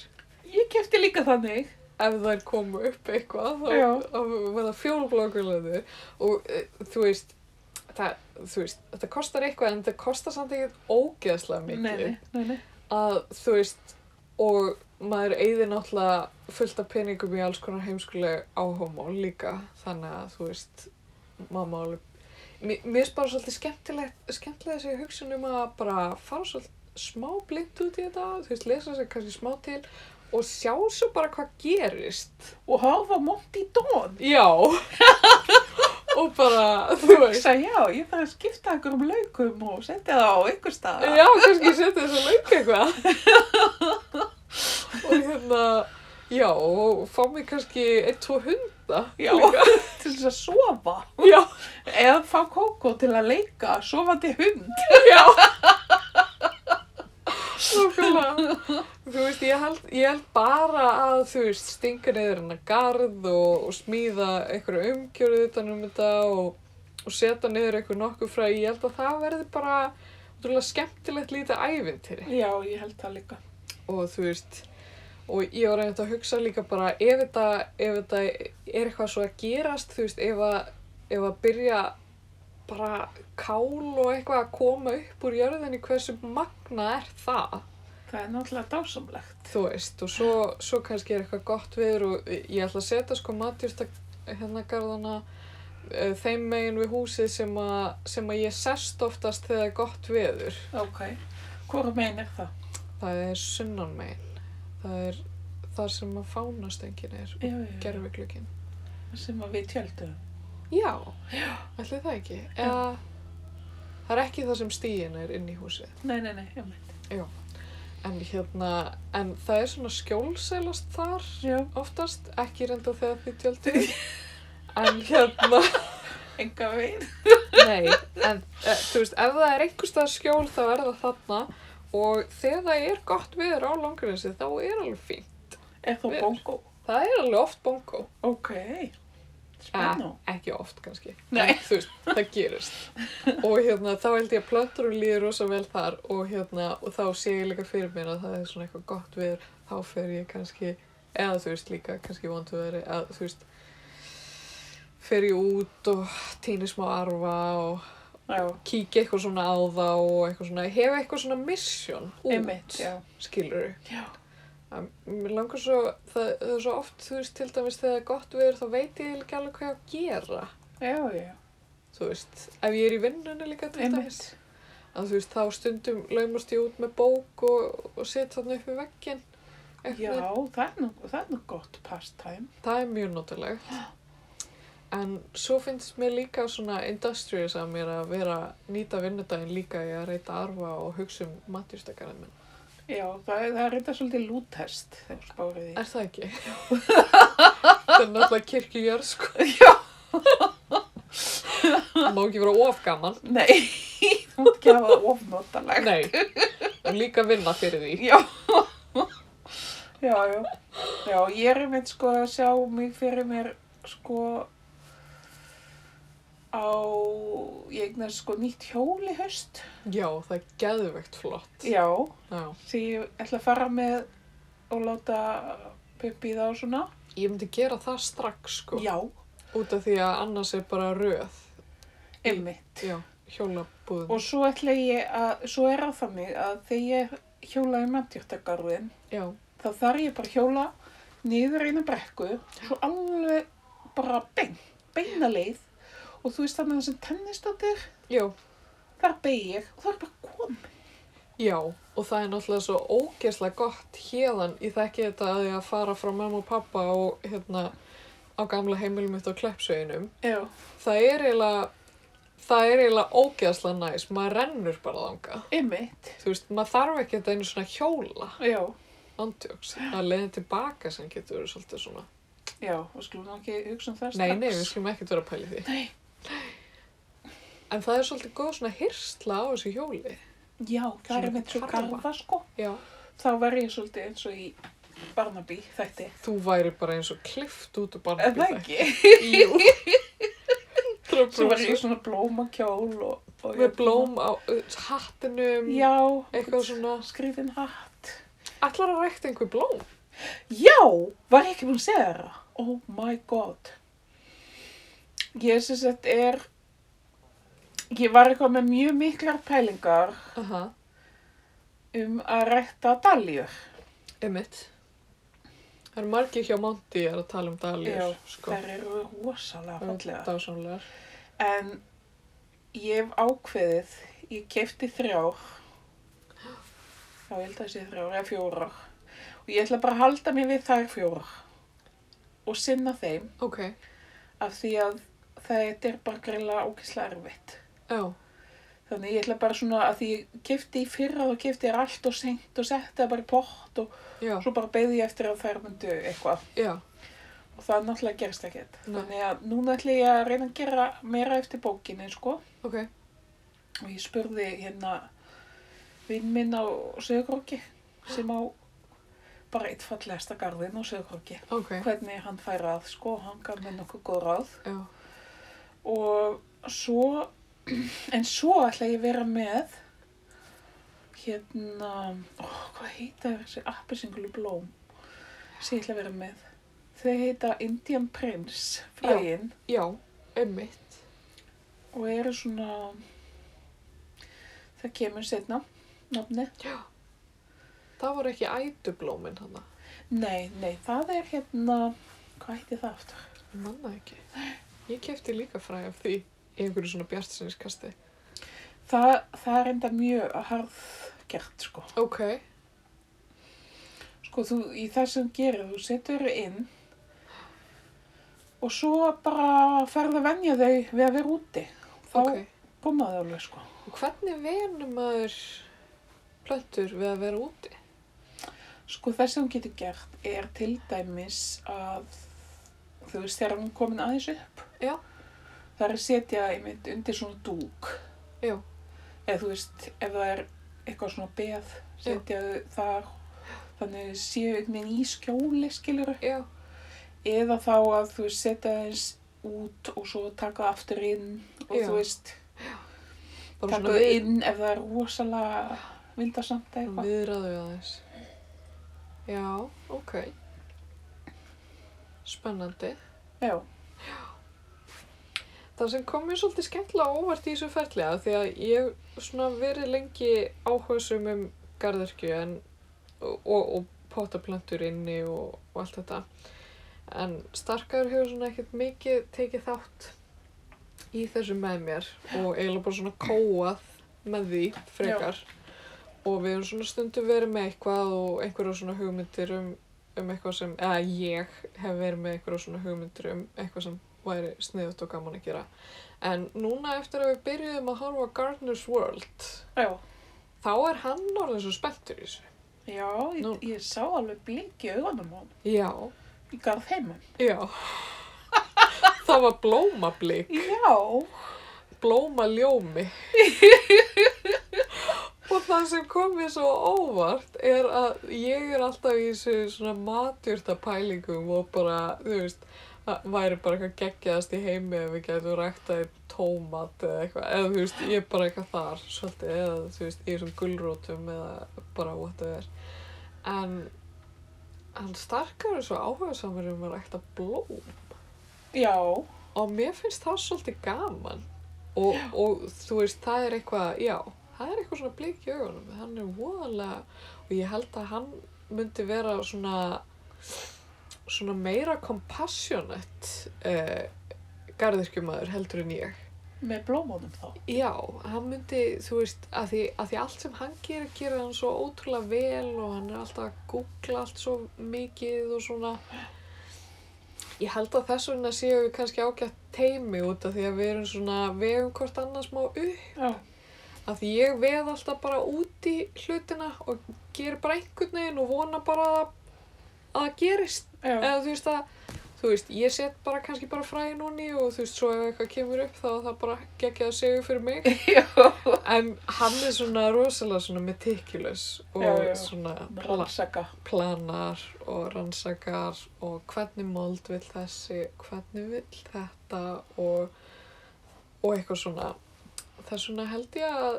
Ég kefti líka þannig.
ef þær komu upp eitthvað
Já.
þá þá verða fjólblókulöðu og e, þú veist það, þú veist, þetta kostar eitthvað en þetta kostar samt ekkert ógeðslega mikið
Nei, nei, nei, nei.
að þú veist og maður eigði náttúrulega fullt af peningum í alls konar heimskuleg áhómál líka þannig að þú veist mamma alveg mér mér finnst bara svolítið skemmtilegt skemmtilega þessi hugsun um að bara fara svolítið smá blind út í þetta þú veist, lesa sér kannski smá til og sjá svo bara hvað gerist
Og hafa mótt í dón.
já og bara, þú veist
Hugsa, já, ég þarf að skipta ykkur um laukum og setja það á ykkur stað.
Já, kannski setja þess að leika eitthvað. og hérna, já, og fá mig kannski einn, tvo hunda.
Já,
líka.
til þess að sofa.
Já,
Eða fá kókó til að leika, sofandi hund.
já. Nákvæmlega. Þú veist, ég held, ég held bara að, þú veist, stinga niður hennar garð og, og smíða einhverju umgjörðu utan um þetta og, og setja niður einhver nokkuð fræ. Ég held að það verði bara útrúlega skemmtilegt lítið ævintýri.
Já, ég held það líka.
og þú veist og ég var einmitt að hugsa líka bara ef þetta, ef þetta er eitthvað svo að gerast þú veist, ef að, ef að byrja bara kál og eitthvað að koma upp úr jörðinni hversu magna er það
Það er náttúrulega dásamlegt.
þú veist, og svo, svo kannski er eitthvað gott viður og ég ætla að setja sko matjúrsta hérna garðana eh, þeim megin við húsið sem að, sem að ég sest oftast þegar er gott veður.
Ok. Hvora megin er það?
Það er sunnan megin. Það er þar sem að fánastengin er og
Já, já, já.
gerfuglugginn.
Sem að við tjöldum.
Já, ætli það ekki. Eða, það er ekki það sem stíin er inn í húsið.
Nei, nei, nei, ég meint.
En hérna, en það er svona skjólselast þar
Já.
oftast, ekki reynda þegar þið tjöldu. En hérna,
Enga veginn.
nei, en e, þú veist, ef það er einhvers staðar skjól þá er það þarna og þegar það er gott viður á langarinsi þá er alveg fínt.
Er það
Við-
bongo?
Það er alveg oft bongo.
Ok. Spennu.
ekki oft kannski
Nei.
en, þú veist, það gerist og hérna, þá held ég að plöntur og líður rosa vel þar og, hérna, og þá sé ég líka fyrir mér að það er svona eitthvað gott við þá fer ég kannski, eða þú veist líka kannski vondu veri, að þú veist fer ég út og týni smá arfa og
Ah. Já.
kíkja eitthvað svona á þá og eitthvað svona, hefa eitthvað svona mission út,
Einmitt, já.
skilurðu
Já.
Að Mér langar svo, það, það er svo oft, þú veist, til dæmis þegar gott viður þá veit ég ekki alveg hvað ég á að gera.
Já, já.
Þú veist, ef ég er í vinnunni líka til dæmis.
Einmitt.
Að þú veist, þá stundum laumast ég út með bók og, og set þarna upp við vegginn.
Já,
Einhvern veginn.
það er nú, það er nú gott pastime.
Það er mjög notalegt. En svo finnst mér líka svona industrious að mér að vera nýta vinnudaginn líka í að reyta arfa og hugsa um matjústakarinn minn.
Já, það er, það er reynda svolítið lútest þegar spárið í.
Er það ekki? það er náttúrulega kirkjujörð, sko. Já. Má ekki vera of gaman.
Nei, þú mútt ekki hafa það ofnotalegt.
Nei. Og líka vinna fyrir því.
Já. já, já. Já, ég er einmitt sko að sjá mig fyrir mér sko á, ég eignast sko nýtt hjól í haust.
Já, það er geðvegt flott.
Já,
Já.
því ég ætla að fara með og láta pumpi það og svona.
Ég myndi gera það strax sko.
Já,
Út af því að annars er bara röð.
einmitt.
Já, hjólabúðin.
Og svo ætla ég að, svo er það þannig að þegar ég hjólaði matjórtakarðin,
Já,
þá þarf ég bara að hjóla niður einu brekku, svo alveg bara bein, beina leið og þú veist þannig að þessum tennistóttir,
já,
þar beig ég og það er bara komið.
já. Og það er náttúrulega svo ógeðslega gott hérðan. Ég þekki þetta að ég að fara frá mamma og pappa og hérna á gamla heimilum mitt á Kleppsveginum.
Já,
Það er eiginlega, það er eiginlega ógeðslega næs. Maður rennur bara þanga.
einmitt,
Þú veist, maður þarf ekki þetta einu svona hjóla
já,
andjóks. Að leiðin tilbaka sem getur verið svolítið svona.
já, og skulum nú ekki hugsa um það
Nei, nei, við skulum ekkert vera að pæli því.
Nei.
En það er svolítið góð svona hirsla á þessu hjóli.
Já, það er
Svona
einmitt svo
karfa.
garfa sko,
Já.
þá var ég svolítið eins og í Barnaby þætti.
Þú væri bara eins og klift út úr
Er það
barnabíð.
ekki?
Jú.
Svo var ég í
Tröfbrúsur.
svona blómakjól og... og
Með blóm á uh, hattinum.
Já,
Eitthvað svona.
skrifin hatt.
Allar að rækta einhver blóm.
Já, var ég ekki búin að segja þér það? Oh my god. Ég sem sagt er, ég var eitthvað með mjög miklar pælingar
Aha,
um að rækta daljur.
emitt. Það eru margir hjá Monty er að tala um dalir.
Já,
sko.
Þær eru rosalega
Mm.
fallega.
Dásamlegar.
En ég hef ákveðið, ég kefti þrjár, þá ég held að sé þrjár eða fjórar. Og ég ætla bara að halda mig við þær fjórar og sinna þeim
Ok,
af því að þetta er bara greinlega ókysla erfitt.
já,
Þannig ég ætla bara svona að því ég kefti í fyrra þá kefti ég allt og seint og setti það bara í pott og
já,
svo bara beði ég eftir að þær myndu eitthvað
já,
og það náttúrulega gerst ekkert.
Nei.
Þannig að núna ætla ég að reyna að gera meira eftir bókinni sko
ok,
og ég spurði hérna vinn minn á Söðuróki sem á bara eitt fallegasta garðin á Söðuróki
ok,
hvernig hann fær að sko, hann gaf mér nokkuð góð ráð
já,
og svo en svo ætla ég að vera með hérna ó, hvað heita þessi appisinglu blóm sem ég ætla að vera með þau heita Indian Prince fræin
já, emitt.
og eru svona það kemur setna nafni
Já. Það voru ekki ætublómin hana.
nei, nei, það er hérna hvað heiti það aftur
Ég manna ekki. Ég kefti líka fræ af því í einhverju svona bjartsinniskasti.
Það, það er enda mjög harðgert sko.
Ok.
Sko þú, í það sem þú gerir, þú setur þau inn og svo bara ferð að venja þau við að vera úti. Þá
Ok.
koma þau alveg sko.
Og hvernig venur maður plöntur við að vera úti?
Sko það sem hún getur gert er til dæmis að þú veist þegar hún er komin aðeins upp.
Já.
Það er að setja einmitt undir svona dúk.
Já.
Eða þú veist ef það er eitthvað svona beð setja þau þar þannig þau séu einhvern veginn í skjóli skilur.
Já.
Eða þá að þú veist setja aðeins út og svo taka það aftur inn og
Já.
þú veist
Bara
taka það inn ef það er rosalega vildasamt eða eitthvað.
Viðraðu aðeins. Já, ok. Spennandi.
Já.
Það sem kom mér svolítið skemmtilega á óvart í þessu ferli að því að ég hef svona verið lengi áhugaðsum um garðarkju en, og, og pottaplöntur inni og, og allt þetta. En starkaður hefur svona ekkert mikið tekið þátt í þessu með mér og eiginlega bara svona kóað með því frekar. Og við hefum svona stundum verið með eitthvað og einhverja svona hugmyndir um, um eitthvað sem, eða ég hef verið með einhverja svona hugmyndir um eitthvað sem væri sniðut og gaman að gera. En núna eftir að við byrjuðum að horfa á Gardener's World,
Já.
þá er hann orðin svo spenntur í þessu.
Já, ég,
Nú-
ég sá alveg blink í augunum á hann.
Já,
Ég garð heima.
já. það var blómablik,
Já,
blómaljómi. og það sem kom mér svo óvart er að ég er alltaf í þessu svona matjurta pælingum og bara, þú veist, það væri bara eitthvað geggjaðast í heimi ef við gætum ræktaði tómat eða eitthvað, eða þú veist, ég er bara eitthvað þar svolítið, eða þú veist, ég er svona gulrótum eða bara whatever en hann starkar er svo áhugasamur um að rækta blóm
já,
og mér finnst það svolítið gaman og, og þú veist, það er eitthvað já, það er eitthvað svona blik í augunum hann er voðalega og ég held að hann myndi vera svona svona meira compassionate eh, garðirkjumæður heldur en ég
með blómónum þá.
já, hann myndi, þú veist að því, að því allt sem hann gerir, gerir hann svo ótrúlega vel og hann er alltaf að googla allt svo mikið og svona Ég held að þess vegna séum við kannski ágætt teimi út af því að við erum svona vegum hvort annars má upp.
Já,
Af því ég veð alltaf bara út í hlutina og ger bara einhvern veginn og vona bara að, að það gerist.
já,
Eða þú veist að, þú veist, ég set bara kannski bara fræði núni og þú veist, svo ef eitthvað kemur upp þá er það bara geggja að segja fyrir mig.
já,
En hann er svona rosalega svona meticulous og
Já, já.
svona
Eh,
pla-
rannsaka.
planar og rannsakar og hvernig mold vil þessi, hvernig vil þetta og, og eitthvað svona. Þess vegna held ég að,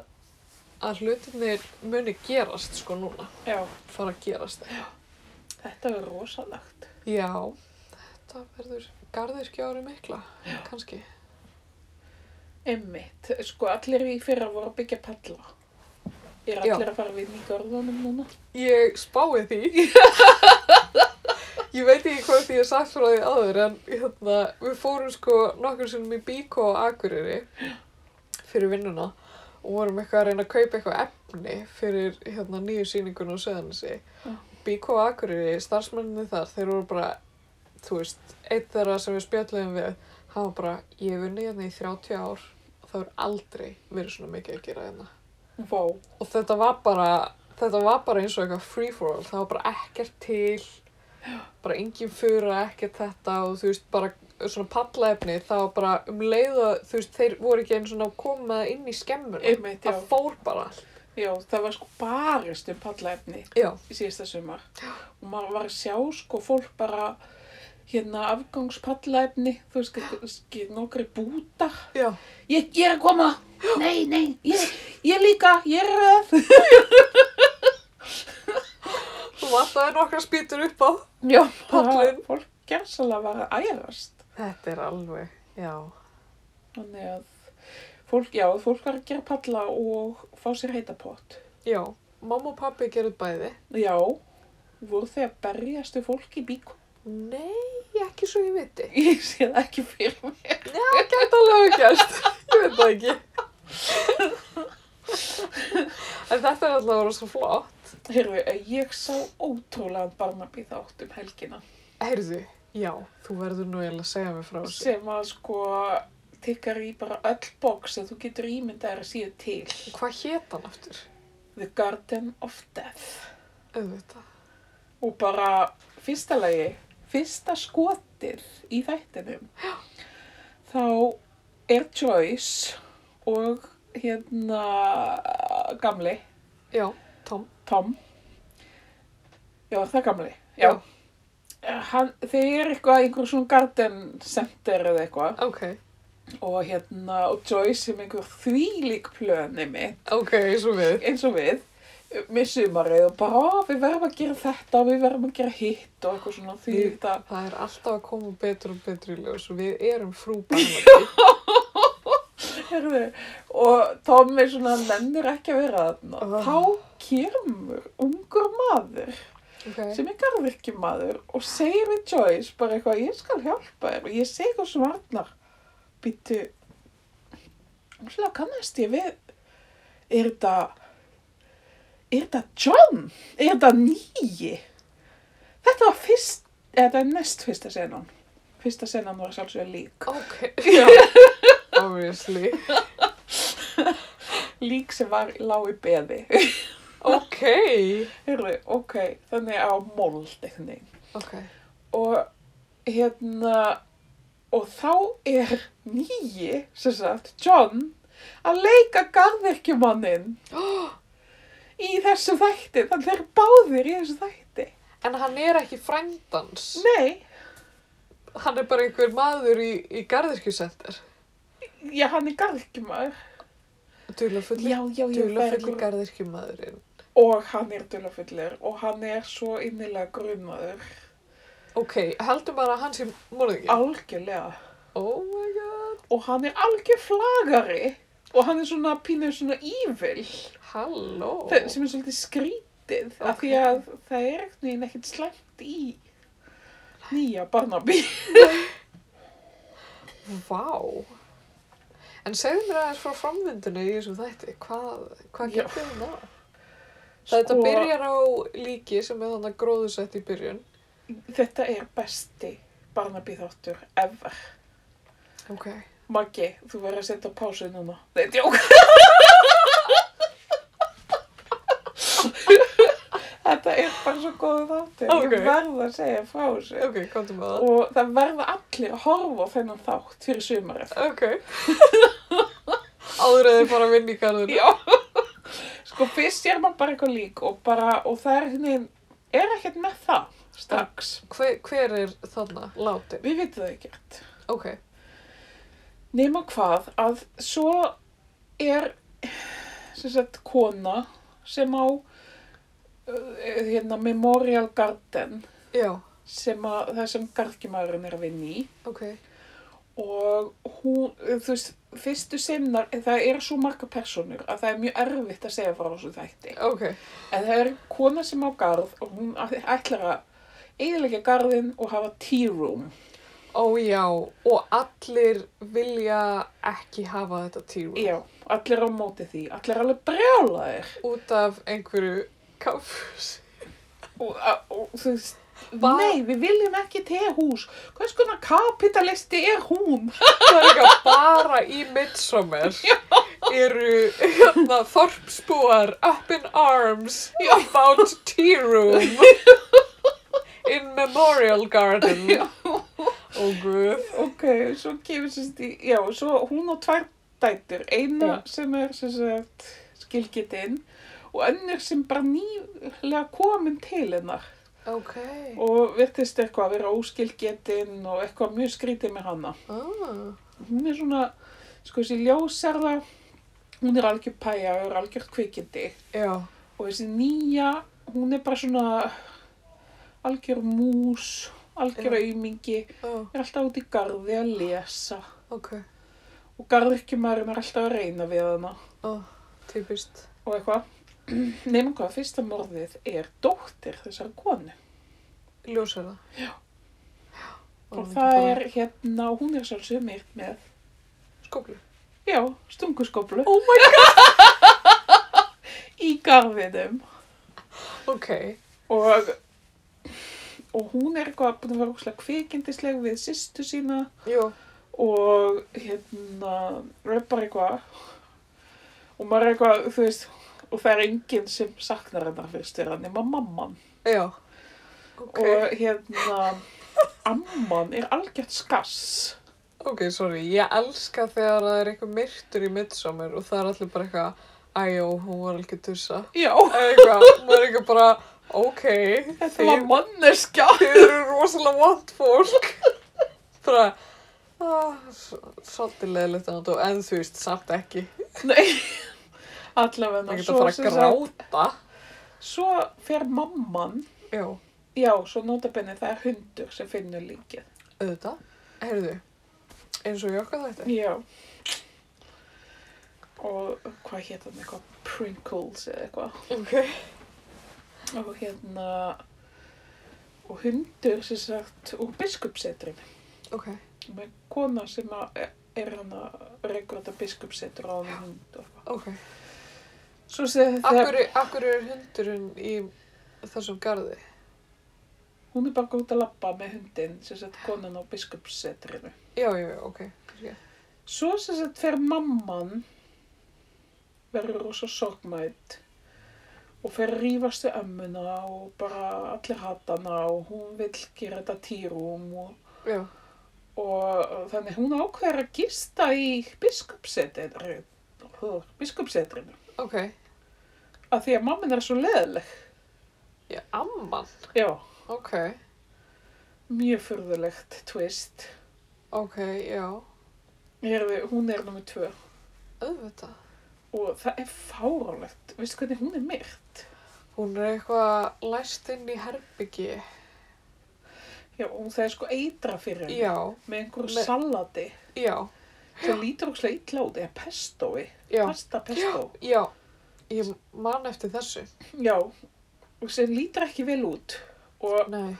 að hlutinir muni gerast sko núna,
Já,
fara að gerast.
þetta er rosalagt.
Já, þetta verður garðirkjári mikla, kannski.
Emmitt, sko allir í fyrra voru að byggja palla. Er
Já.
allir að fara við í garðunum núna?
Ég spái því. Ég veit ekki hvað því ég hef sagt frá því áður en hérna, við fórum sko nokkur sinnum í Bíko og Akureyri fyrir vinnuna og vorum eitthvað að reyna að kaupa eitthvað efni fyrir hérna, nýju sýninguna á Söðanissi.
Já.
Bíko og Akureyri, starfsmenninni þar, þeir voru bara, þú veist, eitt þeirra sem við spjöldlegum við, hann var bara, ég hef unnið hérna í 30 ár og það hefur aldrei verið svona mikið að gera hérna
Vá,
og þetta var bara þetta var bara eins og eitthvað free for all það var bara ekkert til bara engin fura, ekkert þetta og þú veist, bara svona pallaefni það var bara um leiða, þú veist, þeir voru ekki einu svona að koma inn í skemmuna
emmitt, já.
það fór bara allt
Já, það var sko barist um pallaefni.
já,
í síðasta sumar og maður var að sjá sko fólk bara hérna afgangspallaefni þú veist ekki- ekki nokkri bútar
já,
ég, ég er að koma nei, nei, ég, ég líka ég er að
þú vantaði nokkra spýtur upp á
já,
Pallurinn.
bara fólk gersalega var að ærast
þetta er alveg, já
þannig að fólk, já, fólk var að gera palla og fá sér heita pott
já, mamma og pappi gerðu bæði
já, voru þau að berjast við fólk í bíku
Nei, ekki svo ég viti.
Ég sé það ekki fyrir mér.
Það gæti alveg að gerst, ég veit það ekki. en þetta er alltaf rosa flott.
Heyrðu, ég sá ótrúlega Barnaby þátt um helgina
Heyrðu, já, þú verður nú eiginlega að segja mér frá þessu.
sem að sko tikkar í bara öll bóks að þú getur ímyndað að síðu til.
Hvað hét hann aftur?
The Garden of Death.
Auðvitað.
Og bara fyrsta lagi, fyrsta skotið í þættinum. Þá er Joyce og hérna gamli,
Já, Tom.
Tom. Já, er það gamli.
Já.
Hann, þeir eru eitthvað, einhver svona garden center eða eitthvað
Ok,
og hérna, og Joyce sem einhver þvílík plöni mitt
ok, eins og við.
eins og við með sumarið og bara "Ó, við verðum að gera þetta og við verðum að gera hitt og eitthvað svona því
Við-
þetta
Það er alltaf að koma betur og betur í ljós og við erum frú barnaði.
herðu og Tommy svona nennir ekki að vera þarna
Ah.
þá kemur ungur maður
Ok,
sem er garðvirkjumadur og segir við Joyce bara eitthvað ég skal hjálpa þér og ég segi eitthvað sem varnar býttu svona kannast ég við er þetta er þetta John er þetta nýji þetta var fyrst eða þetta er næst fyrsta senan fyrsta senan var sjálfsögur lík
ok,
Já.
obviously.
lík sem var lág í beði
Ok,
Heyrðu, ok, þannig á mold eitthvað neginn
ok,
og hérna og þá er nýji sem sagt, John að leika garðvirkjumanninn í þessu þætti þannig þeir eru báðir í þessu þætti
en hann er ekki frændans.
nei,
Hann er bara einhver maður í, í garðirkjusendir.
já hann er garðvirkjumaður
Dula fulli,
já, já,
dula
já, það er
fulli
einhver-
garðirkjumadurinn.
og hann er dulafullir og hann er svo innilega grunaður
Ok, heldur bara að hann sé
Ah.
morðingin.
algjörlega
Oh my god,
og hann er algjör flagari og hann er svona pínu svona evil
halló.
Þe- sem er svolítið skrítið af því að það er einhvern veginn ekkert slæmt í nýja Barnaby
Vá. En segðu mér aðeins frá framvindinu í þessum þætti. Hvað, hvað
Já. Sko-
getur þið ná? Það þetta byrjar á líki sem er þannig gróðusett í byrjun.
þetta er besti Barnaby þáttur ever
Ok.
Maggi, þú verður að setja á pásu núna Nei, djók Þetta er bara svo góðu þáttur
Ókei.
Ég verð að segja frá þessu
Ok, komdu með það.
og það verða allir að horfa á þennan þátt fyrir sumarið
Ok. Áður eða bara að vinna í garðinu.
Já, sko fyrst sér maður bara eitthvað lík og bara, og það er hérna, er ekkert með það strax.
Hver, hver er þarna látin?
Við veitum það ekkert.
Ok.
Nefna hvað að svo er, sem sagt, kona sem á, uh, hérna, Memorial Garden
Já.
sem að, það sem garðkjumaðurinn er að vinna í.
Ok.
Og hún, uh, þú veist, fyrstu semnar, það eru svo marga personur að það er mjög erfitt að segja frá þessu þætti.
Ok.
En það er kona sem á garð og hún ætlar að eiginlega garðinn og hafa tea room.
Ó já, og allir vilja ekki hafa þetta tíma
Já, allir á móti því. Allir alveg brjálaðir.
út af einhverju kaffs.
Og, og þú veist,
Var-
nei, við viljum ekki tehús. Hvers konar kapitalisti er hún?
Það er líka bara í Midsommar eru hérna, þorpsbúar up in arms about tea room in memorial garden. Ó guð.
Ok, svo kemur sérst í, já, svo hún á tvær dætur. Eina
Já.
sem er sem sagt skilgetinn og önnur sem bara nýlega komin til hennar.
Ok.
Og virtist eitthvað að vera óskilgetinn og eitthvað mjög skrítið með hana.
Ah,
hún er svona, sko þessi ljósarða, hún er algjör pæja og er algjör kvikindi
já,
og þessi nýja, hún er bara svona algjör mús, algjör aumingi,
oh,
er alltaf út í garði að lesa
ok.
og garðurkjumærin er alltaf að reyna við hana
Oh, typist.
og eitthvað. Nefnum hvað, fyrsta morðið er dóttir þessar konu.
Ljósara.
og það er hérna, hún er sjálfsögum eitt með,
Skóklu.
já, stunguskoplu
Oh my
í garðinum
god. Ok.
og, og hún er eitthvað búin að vera úrslega kvikindisleg við sýstu sína
Jú.
og hérna rappar eitthvað og maður er eitthvað, þú veist og það er enginn sem saknar hennar fyrir styrra nema mamman
Já. Ok.
og hérna amman er algjört skass
Ok, sorry. Ég elska þegar það er eitthvað myrtur í midsommar og það er allir bara eitthvað, æjó, hún var alveg tussa.
já,
Eða Eitthvað, maður er eitthvað bara, ok,
þetta
þið,
var manneskja
þið eru rosalega vant fólk. Bara, ah, s- svolítið leðilegt annað og en þú veist, samt ekki.
nei, allavega
Það geta að
sem
fara að gráta.
sagt, svo fer mamman
Já,
já, svo notabenni það er hundur sem finnur líkið
auðvitað. Heyrðu, eins og ég okkar þetta.
já og hvað hétt hann eitthvað Prinkles eða eitthvað
Ok.
og hérna og hundur sem sagt úr biskupsetrinu
Ok.
með kona sem að er- er hann að rekur þetta biskupsetur á hann hund og eitthvað.
Ok.
svo segði
Akkur,
þegar
akkur er hundurinn í þessum garði?
hún er bara góð að labba með hundin sem sagt konan á biskupsetrinu
Já, já, já, ok. fyrirgefðu.
svo sem sagt fer mamman verður rosa sorgmætt og fer að rífast við ömmuna og bara allir hatana og hún vill gera þetta týrum og
Já,
og þannig hún ákveður að gista í biskupsetrinu biskupsetrinu
ok.
af því að mammin er svo leðileg
Já, amman.
já,
Ok,
mjög furðulegt twist
ok, já,
Herði, hún er nummer tvö
auðvitað.
og það er fárálegt veistu hvernig hún er myrt
Hún er eitthvað læst inn í herbyggi.
já, og það er sko eitra fyrir henni
Já,
með einhverju
Með-
salati
já,
sem lítur ókslega illa út eða pestói,
já,
pasta pestó
já. Ég man eftir þessu.
já, og sem lítur ekki vel út og
Nei,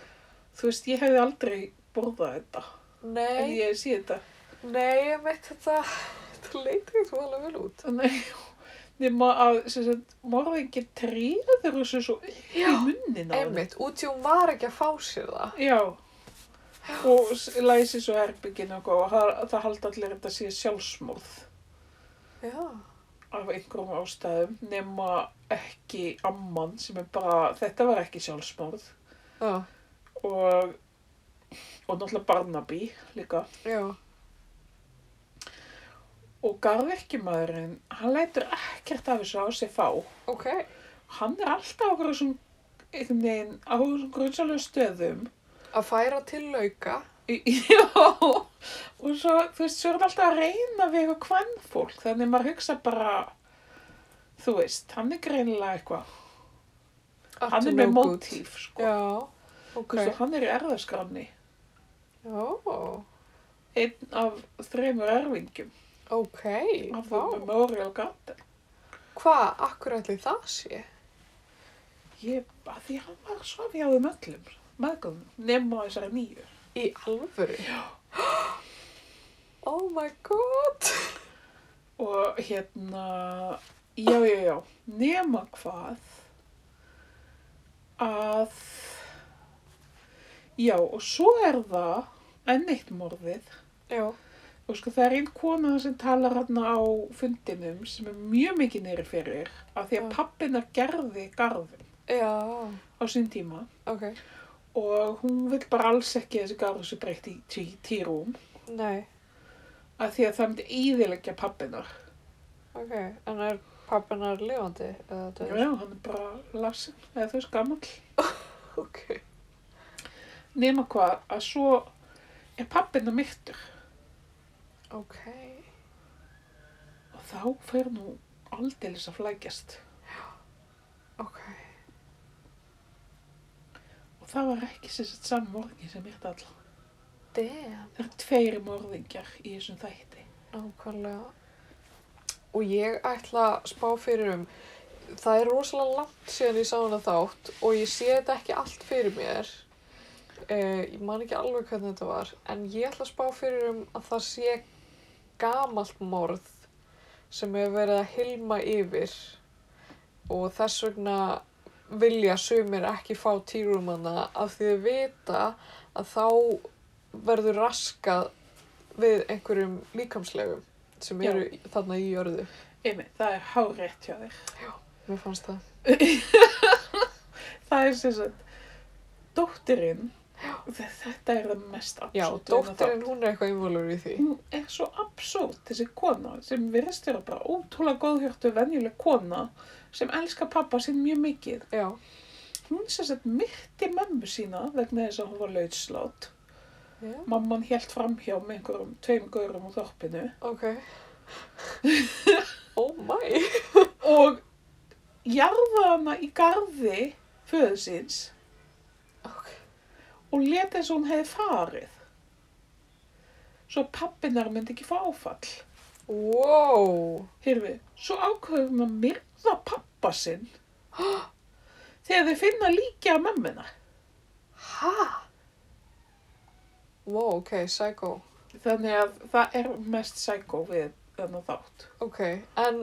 þú veist, ég hefði aldrei borðað þetta en
nei,
ég sé þetta
nei, ég meitt þetta, þetta leit ekki alveg vel út.
Nei, nema að sem sagt, morðingin treður þessu svo upp í
Já,
munnin á henni.
Einmitt, út í hún var ekki að fá sér það.
Já, og s- læsi svo herbyggin og eitthvað og það, það halda allir að þetta sé sjálfsmorð
Já,
af einhverjum ástæðum nema ekki amman sem er bara, þetta var ekki sjálfsmorð
já,
og, og náttúrulega Barnaby líka
já,
og garðverkjumæðurinn, hann lætur ekkert af þessu á sig fá.
ok,
hann er alltaf á okkur þessum einhvern veginn á þessum grunnsalegu stöðum
að færa til lauka.
Í- já og svo þú veist, svo er hann alltaf að reyna við eitthvað kvann fólk þannig maður hugsa bara þú veist, hann er greinilega eitthvað hann er með mótíf sko.
Já, ok.
okay. svo, hann er í erðaskránni
Já,
einn af þreymur erfingjum
ok.
af
Vá.
það með Oriol Garden
Hvað, akkur ætli það sé?
ég, að því hann var svo við á þeim öllum meðgöðum, nema þessari nýju
Í alvöru? Já. Oh my god.
Og hérna, já, já, já, nema hvað að, já, og svo er það enn eitt morðið.
Já,
Og sko, það er einn kona sem talar hérna á fundinum sem er mjög mikið neyri fyrir af því að
Já.
pappina gerði garðin
já,
á sín tíma
ok.
og hún vil bara alls ekki að þessi garður sem breytt í tí, týrúm
Nei,
af því að það myndi íðilegja pappinar.
ok. En er pappinar lifandi? Eða
Já,
dauður?
já, hann er bara lasin, eða þú veist, gamall.
Ok.
nema hvað að svo er pappina myrtur
Ok.
og þá fer nú aldeilis að flækjast
Ok.
og það var ekki sem sett saman morðingi sem myrta alla
Damn.
það eru tveiri morðingjar í þessum þætti
Nákvæmlega. Og ég ætla að spá fyrir um. Það er rosalega langt síðan ég sá hana þátt og ég sé þetta ekki allt fyrir mér. uh, ég man ekki alveg hvernig þetta var en ég ætla að spá fyrir um að það sé gamalt morð sem hefur verið að hilma yfir og þess vegna vilja sumir ekki fá týrumanna af því þau vita að þá verður raskað við einhverjum líkamslegum sem
Já.
eru þarna í jörðu.
Emi, það er hárétt hjá þér.
Mér fannst það.
Það er sem sagt, dóttirinn, þetta er það mest absúrt.
Já, dóttirinn hún er eitthvað involur í því.
Hún er svo absúrt, þessi kona, sem við restur bara ótrúlega góðhjörtu venjuleg kona sem elskar pappa sinn mjög mikið.
Já,
Hún sem sagt myrti mömmu sína vegna þess að hún var lautslátt.
já,
Mamman hélt framhjá með einhverjum tveim gaurum úr þorpinu
ok. oh my.
og jarða hana í garði föðu síns
Ok,
og leta eins og hún hefði farið. Svo pappinar myndi ekki fá áfall.
wow.
Hérfi, svo ákveður hún að myrða pappa sinn þegar þau finna líkja að mömmina.
Hæ? Wow, ok, psycho.
Þannig að það er mest psycho við þennan þátt.
Ok, en,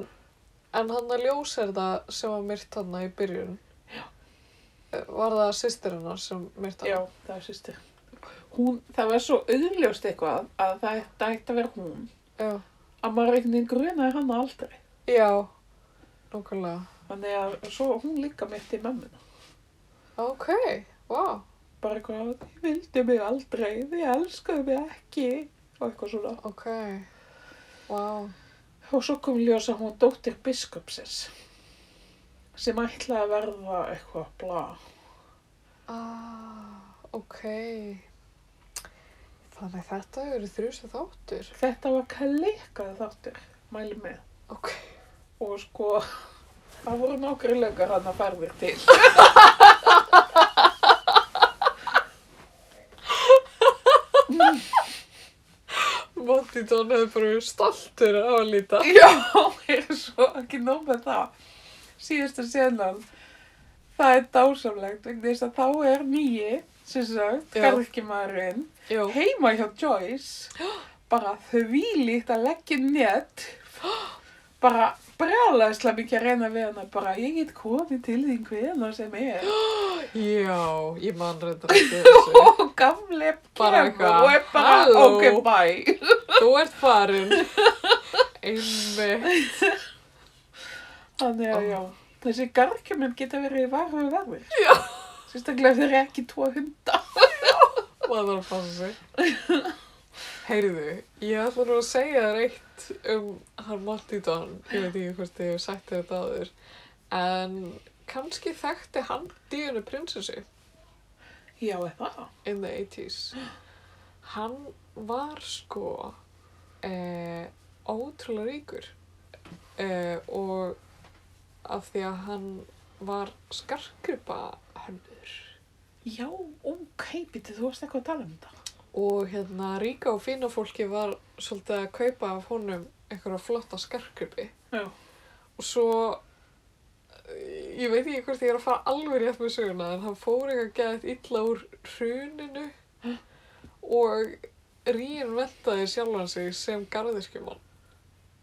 en hann að ljós er það sem var myrt hann í byrjun. Já. Var það sýstir hennar sem myrt hann?
Já, það er sýstir. Hún, það var svo auðljóst eitthvað að það ætti ætti að vera hún.
Já.
Að maður einhvern veginn grunaði hana aldrei.
Já, nokkulega.
Þannig að svo hún líka myrti mömmina.
Ok, wow.
Bara eitthvað, þið vildu mig aldrei, þið elskuðu mig ekki og eitthvað svona.
Ok, wow.
Og svo kom ljós að hún var dóttir biskupsins sem ætlaði að verða eitthvað bla.
Ah, ok. Þannig þetta eru þrjúsi þáttur.
Þetta var kallikaði þáttur, mæli með.
Ok.
Og sko, það voru nokkri lögur hann að færðir til.
Monty Don hefði bara verið stoltur á að líta.
Já, er svo ekki nóg með það. Síðasta senan, það er dásamlegt vegna þess að þá er nýji, sem sagt,
Já.
garðkjumarinn,
Jó.
heima hjá Joyce, bara þvílíkt að leggja nett, bara brjálaðislega mikið að reyna við hana, bara ég get komið til þín hvena sem er.
Já, ég man reyndar ekki þessu.
Og gamle
Bara
kemur
eitthvað,
og er bara,
halló.
ok, bye.
Þú ert farin. Einmi.
Þannig
Ó.
að já, þessi gargjuminn geta verið varu verður. Já. Sérstaklega ef þeir eru ekki tvo hunda.
Maður þarf að passa sig. Heyrðu, ég ætla nú að segja þér eitt um hann Monty Don. Ég veit ekki hvort ég hef sagt þér þetta áður. En kannski þekkti hann díunu prinsessu.
Já, er það?
in the 80s hann var sko eh, ótrúlega ríkur eh, og af því að hann var skarkripa hönnur
Já, ok, býtti, þú varst eitthvað að tala um þetta.
og hérna ríka og fína fólki var svolítið að kaupa af honum einhverja flotta skarkripi
Já.
og svo eh, ég veit ekki hvort ég er að fara alveg rétt með söguna en hann fór eitthvað gæðið illa úr hruninu og Rín veltaði sjálfan sig sem garðirkjumann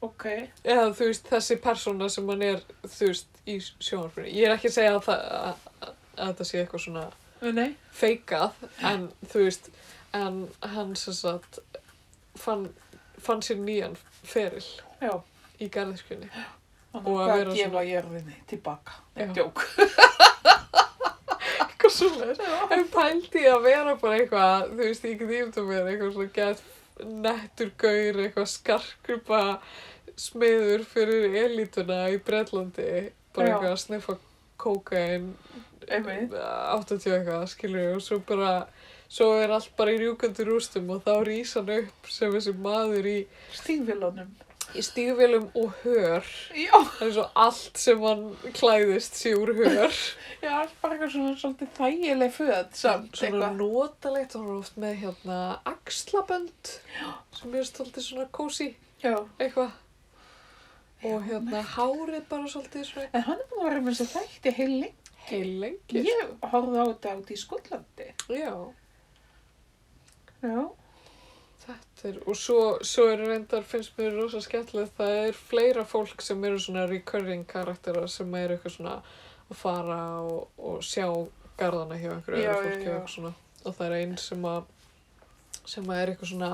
Ok,
eða þú veist þessi persóna sem hann er þú veist í sjónarfinu ég er ekki að segja að, það, að, að, að þetta sé eitthvað svona
Ö, nei,
feikað en þú veist en hann sem sagt fann, fann sér nýjan feril
já.
í garðirkjunni
Þannig
Og að
að hvað
vera
gefa svona... jörðinni tilbaka.
Já.
Nei, djók.
eitthvað svona En pældi ég að vera bara eitthvað, þú veist, ég get ímynda mér eitthvað svona gett nettur gaur, eitthvað skarkrupa smiður fyrir elítuna í Bretlandi, bara
Já. Mm.
eitthvað að sniffa kókain,
Einmitt.
80 eitthvað, skilur og svo bara, svo er allt bara í rjúkandi rústum og þá rís hann upp sem þessi maður í,
Stígvillanum.
í stígvélum og hör,
Já.
það er svo allt sem hann klæðist sé úr hör.
Já, allt bara eitthvað svona svolítið þægileg föð samt
svona
eitthvað.
notalegt og hann er oft með hérna axlabönd sem er svolítið svona kósi
Já.
eitthvað og hérna hárið bara svolítið svona
En hann er búin að vera með þessi þætti heil lengi.
heil lengi
Ég horfði á þetta út í Skotlandi.
já,
já,
Þetta er, og svo, svo er reyndar, finnst mér rosa skemmtilegt, það er fleira fólk sem eru svona recurring karakterar sem eru eitthvað svona að fara og, og sjá garðana hjá einhverju
Já,
öðru
já,
fólki og
já.
eitthvað svona. Og það er einn sem að, sem að er eitthvað svona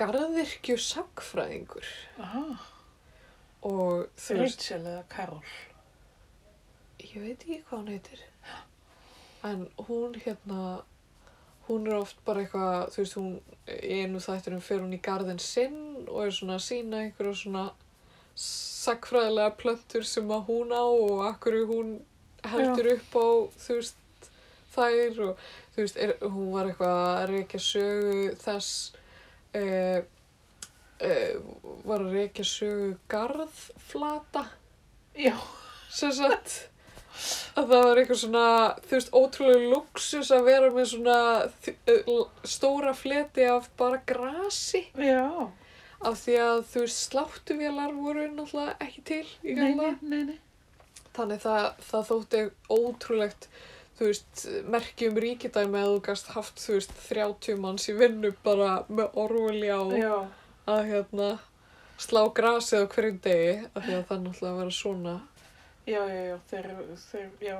garðvirkju sagfræðingur
aha,
og þú veist,
Ah, Rachel eða Carol.
ég veit ekki hvað hún heitir, en hún hérna, hún er oft bara eitthvað, þú veist, hún í einu þættinum fer hún í garðin sinn og er svona að sína einhverja svona sakfræðilega plöntur sem að hún á og akkur hún heldur upp á, þú veist, þær og þú veist, er, hún var eitthvað að reykja sögu þess e, e, var að reykja sögu garðflata
Já,
sem sagt að það var eitthvað svona, þú veist, ótrúlega luxus að vera með svona þ- eh, l- stóra fleti af bara grasi
já,
af því að, þú veist, sláttuvélar voru náttúrulega ekki til í
nei,
gamla
nei, nei, nei.
þannig það, það þótti ótrúlegt þú veist, merki um ríkidæmi að þú gast haft, þú veist, 30 manns í vinnu bara með orvulja og
Já,
að hérna slá grasið á hverjum degi af því að það náttúrulega vera svona
já, já, já, þeir, þeir, já.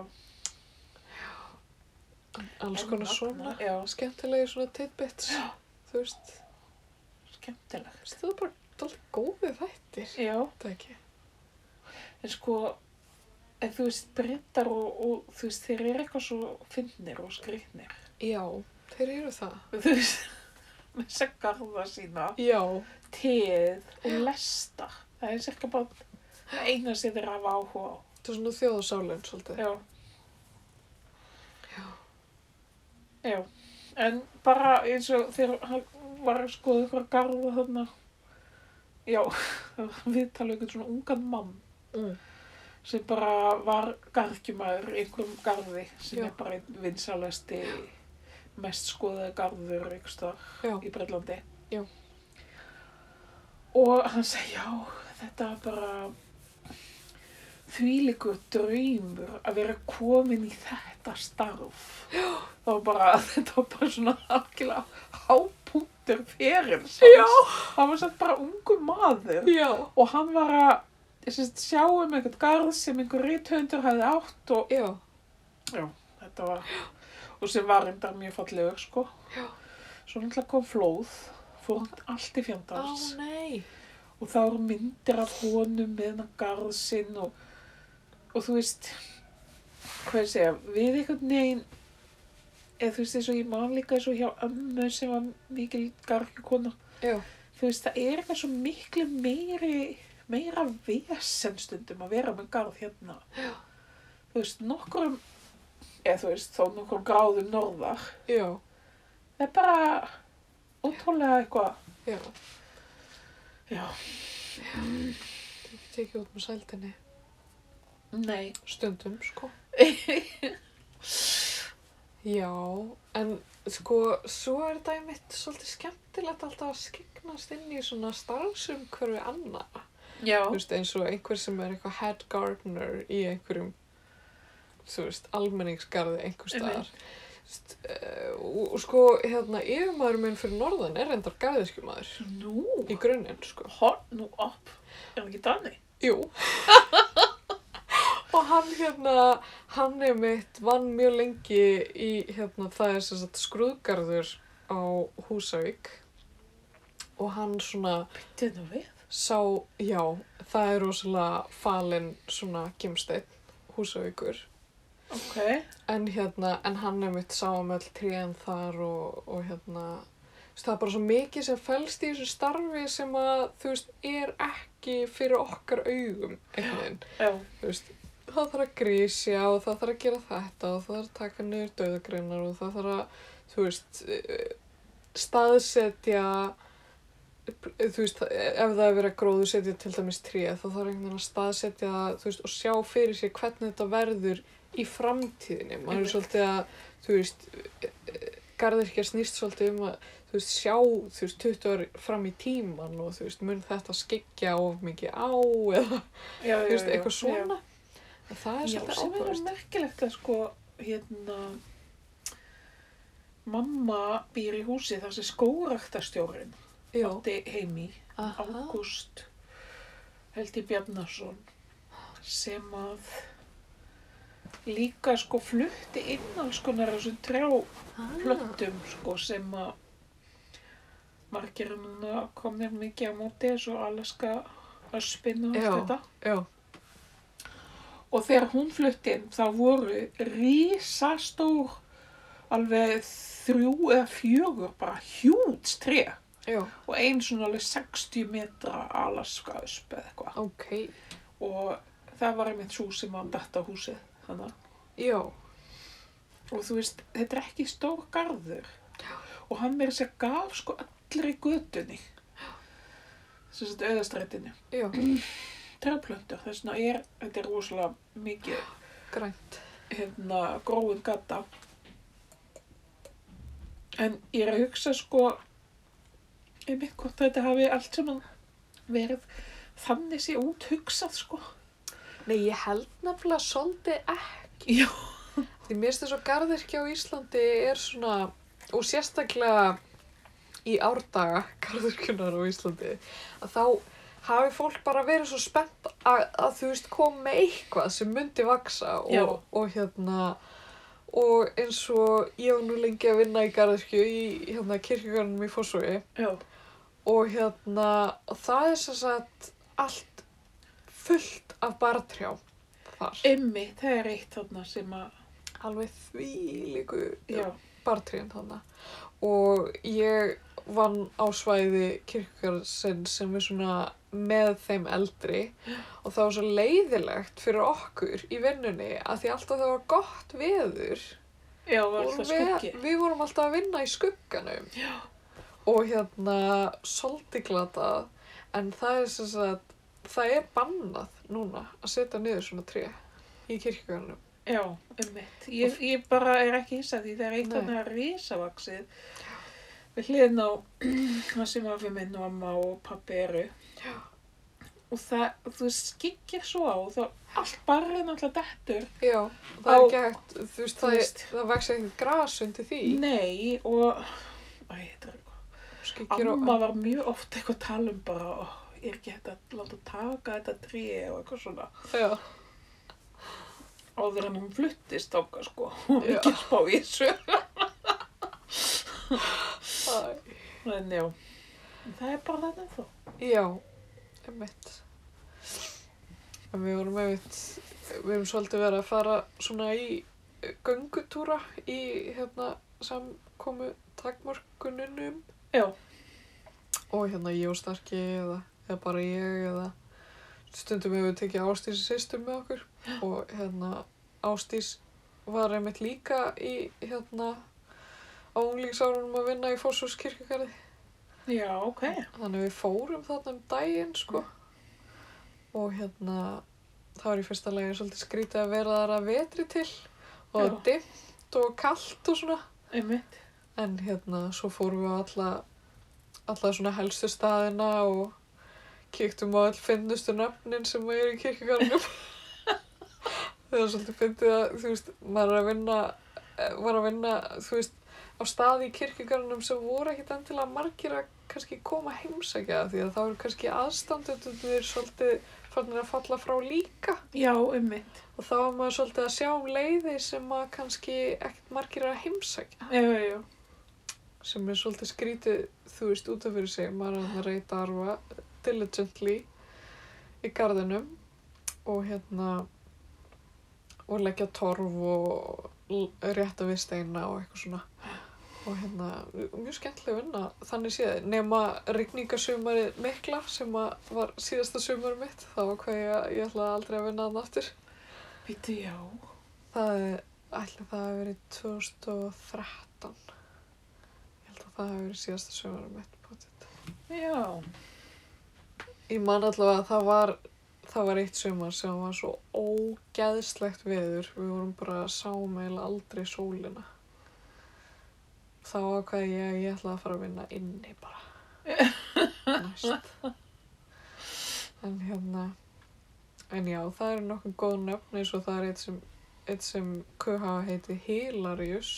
alls
En
konar
magnað,
svona
Já,
skemmtilegi svona tidbits þú veist,
skemmtilegt.
veist það er bara dálítið góði þættir
Já,
þetta ekki
en sko, en þú veist, brettar og, og þú veist, þeir eru eitthvað svo finnir og skrýtnir.
já, þeir eru það
Þú veist, með þess að garða sína,
já,
teð og lesta. Það er sérka bara það eina sem þeir hafa áhuga á.
þetta er svona þjóðasálinn svolítið
Já.
Já.
Já. En bara eins og þegar hann var að skoða ykkur garða þarna. Já, við tala ykkur svona ungan mann
mm.
sem bara var garðkjumæður í einhverjum garði sem
Já.
er bara einn vinsalasti mest skoðaði garður ykkur stöðar
já,
í Breitlandi.
Já.
Og hann segi, já, þetta var bara þvílíkur draumur að vera komin í þetta starf. Já. Það var bara, þetta var bara svona algjörlega hápunktur fyrir.
Já.
Hann var satt bara ungu maður
já,
og hann var að ég syns, sjá um einhvern garð sem einhver rithöndur hafði átt og
já,
þetta var og sem var reyndar mjög fallegur sko
Já.
svo náttúrulega kom flóð fór hann allt í
á
fjandars
nei
og það voru myndir af honum með hann garð sinn og, og þú veist hvað ég segja, við einhvern veginn eða þú veist eins og ég man líka eins og hjá ömmu sem var mikil garðkona
já,
þú veist, það er eitthvað svo miklu meiri, meira vesen stundum að vera með garð hérna. Já. Þú veist, nokkrum, eða þú veist, þó nokkrum gráðum norðar.
já,
Það er bara ótrúlega eitthvað,
já
já,
tekið út með sældinni
nei,
stundum sko já, en sko svo er þetta einmitt svolítið skemmtilegt alltaf að skiknast inn í svona starfsumhverfi annað
já,
þú veist, eins og einhver sem er eitthvað head gardener í einhverjum þú veist, almenningsgarði einhver staðar
Einmitt.
Þú veist, eh, og, og sko, hérna, yfirmaður minn fyrir norðan er reyndar garðirkjumaður
nú,
í grunninn, sko
horn nú upp, er hann ekki danni?
Jú. og hann hérna, hann er mitt vann mjög lengi í hérna, það er sem sagt skrúðgarður á Húsavík og hann svona
Byttið nú við.
sá, já, það er rosalega falinn svona gimsteinn Húsavíkur
Ok,
en hérna, en hann er mitt sá um öll tríðan þar og, og hérna þú veist, það er bara svo mikið sem felst í þessu starfi sem að, þú veist, er ekki fyrir okkar augum einhvern veginn
já,
þú veist, það þarf að grísja og það þarf að gera þetta og það þarf að taka niður döðagreinar og það þarf að, þú veist, eh, staðsetja, þú veist, ef það er verið að gróðusetja til dæmis tríð, þá þarf einhvern veginn að staðsetja, það, þú veist, og sjá fyrir sér hvernig þetta verður í framtíðinni. Maður er
Einmitt.
svolítið að, þú veist, garðirkja snýst svolítið um að, þú veist, sjá, þú veist, 20 ár fram í tíman og, þú veist, mun þetta skyggja of mikið á eða
já, já,
þú veist,
já,
eitthvað
já.
svona en það er
Já,
svolítið
sem er
áhverjast
merkilegt að sko, hérna, Mamma býr í húsi þar sem skóraktastjórin
já,
átti heimi,
aha,
Ágúst Heldi Bjarnason sem að líka sko flutti inn alls konar af þessum trjáplöttum
ah,
sko sem að margir er núna komnir mikið á móti eins og alaska öspinn og allt
Já.
þetta.
já,
Og þegar hún flutti inn þá voru rísastór alveg þrjú eða fjögur bara hjúts tré
já,
og einn svona alveg 60 metra alaska ösp eða eitthvað.
ok,
Og það var einmitt svo sem að datta húsið þannig.
já,
Og þú veist, þetta er ekki stór garður. Og hann verið sér gaf sko allri götunni. Þess að auðastrættinni.
já,
Trjáplöntur, þess vegna er, þetta er rosalega mikið
grænt,
hérna, gróin gata. En ég er að hugsa sko, einmitt hvort þetta hafi allt saman verið þannig sé út hugsað sko.
nei, ég held nefnilega svolítið ekki,
Já.
Því mér finnst þess að garðirkja á Íslandi er svona, og sérstaklega í árdaga garðirkjunar á Íslandi, að þá hafi fólk bara verið svo spennt að, að þú veist kom með eitthvað sem myndi vaksa
Já.
og, og hérna og eins og ég var nú lengi að vinna í garðirkju í hérna kirkjugarnum í Fossói
Já.
og hérna og það er sem sagt allt fullt af bartrjám þar
Einmitt, það er eitt þarna sem að,
alveg því líku
já,
bartrén þarna og ég vann á svæði kirkjarsinn sem er svona með þeim eldri og það var svo leiðilegt fyrir okkur í vinnunni að því alltaf það var gott veður
já, var
og
alltaf
við,
skuggi.
við vorum alltaf að vinna í skugganum
Já.
og hérna svolítið glatað en það er sem sagt það er bannað núna að setja niður svona tré í kirkjagarnum
Já, einmitt. Ég, ég bara er ekki hissað því það er eitt
Nei.
þarna risavaksið. Við hliðin á það sem að við minn og amma og pappi eru.
Já.
Og það, þú skikir svo á, þá allt bara er náttúrulega dettur.
já, það er
Á-
ekki hægt þú veist,
Þú
það,
veist.
er, það vex ekkert gras undir því
Nei, og, æ, þetta er eitthvað.
Skikir og
Mm. Amma var mjög oft eitthvað að tala um bara, ó, ég er ekki hægt að láta taka þetta tré og eitthvað svona.
Já,
Áður en hún fluttist okkar, sko. Hún var
Já.
ekki að spá í þessu.
það,
En já, en það er bara þetta ennþá.
já, einmitt. En við vorum einmitt, við erum svolítið verið að fara svona í eh, göngutúra í hérna samkomu takmörkununum
Já,
og hérna ég og Starki eða, eða bara ég eða stundum hefur við tekið Ástís sýstur með okkur og hérna Ástís var einmitt líka í hérna á unglingsárunum að vinna í Fossús kirkjögarði
já, ok.
Þannig við fórum þarna um daginn, sko. Og hérna, það var í fyrsta lagi svolítið skrítið að vera þar að vetri til. Og það var dimmt og kalt og svona.
Einmitt.
En hérna, svo fórum við á alla, alla svona helstu staðina og kíktum á all finnustu nöfnin sem er í kirkjugarnum. það var svolítið fyndið að, þú veist, maður er að vinna, eh, var að vinna, þú veist, á staði í kirkjugarnum sem voru ekkit endilega margir að kannski koma að heimsækja það því að þá eru kannski aðstandundunir svolítið farnir að falla frá líka
Já, einmitt.
og þá var maður svolítið að sjá um leiði sem að kannski ekkit margir að heimsækja
Já, já, já.
sem er svolítið skrítið, þú veist, út af fyrir sig, maður er að reyta arfa diligently í garðinum og hérna og leggja torf og l- rétta við steina og eitthvað svona og hérna, mjög skemmtileg vinna þannig séð, nema rigningasumari mikla sem að var síðasta sumar mitt, þá var hvað ég, ég ætlaði aldrei að vinna þann aftur
Býtu, já.
Það er, ætla það að verið 2013. Ég held að það hafi verið síðasta sömurinn mitt potið.
Já.
Ég man allavega að það var, það var eitt sömur sem var svo ógeðslegt veður. Við vorum bara sáum eiginlega aldrei sólina. Þá ákvaði ég að ég ætla að fara að vinna inni bara. Næst. En hérna, en já, það eru nokkuð góð nöfn eins og það er eitt sem, eitt sem QH heiti Hilarius.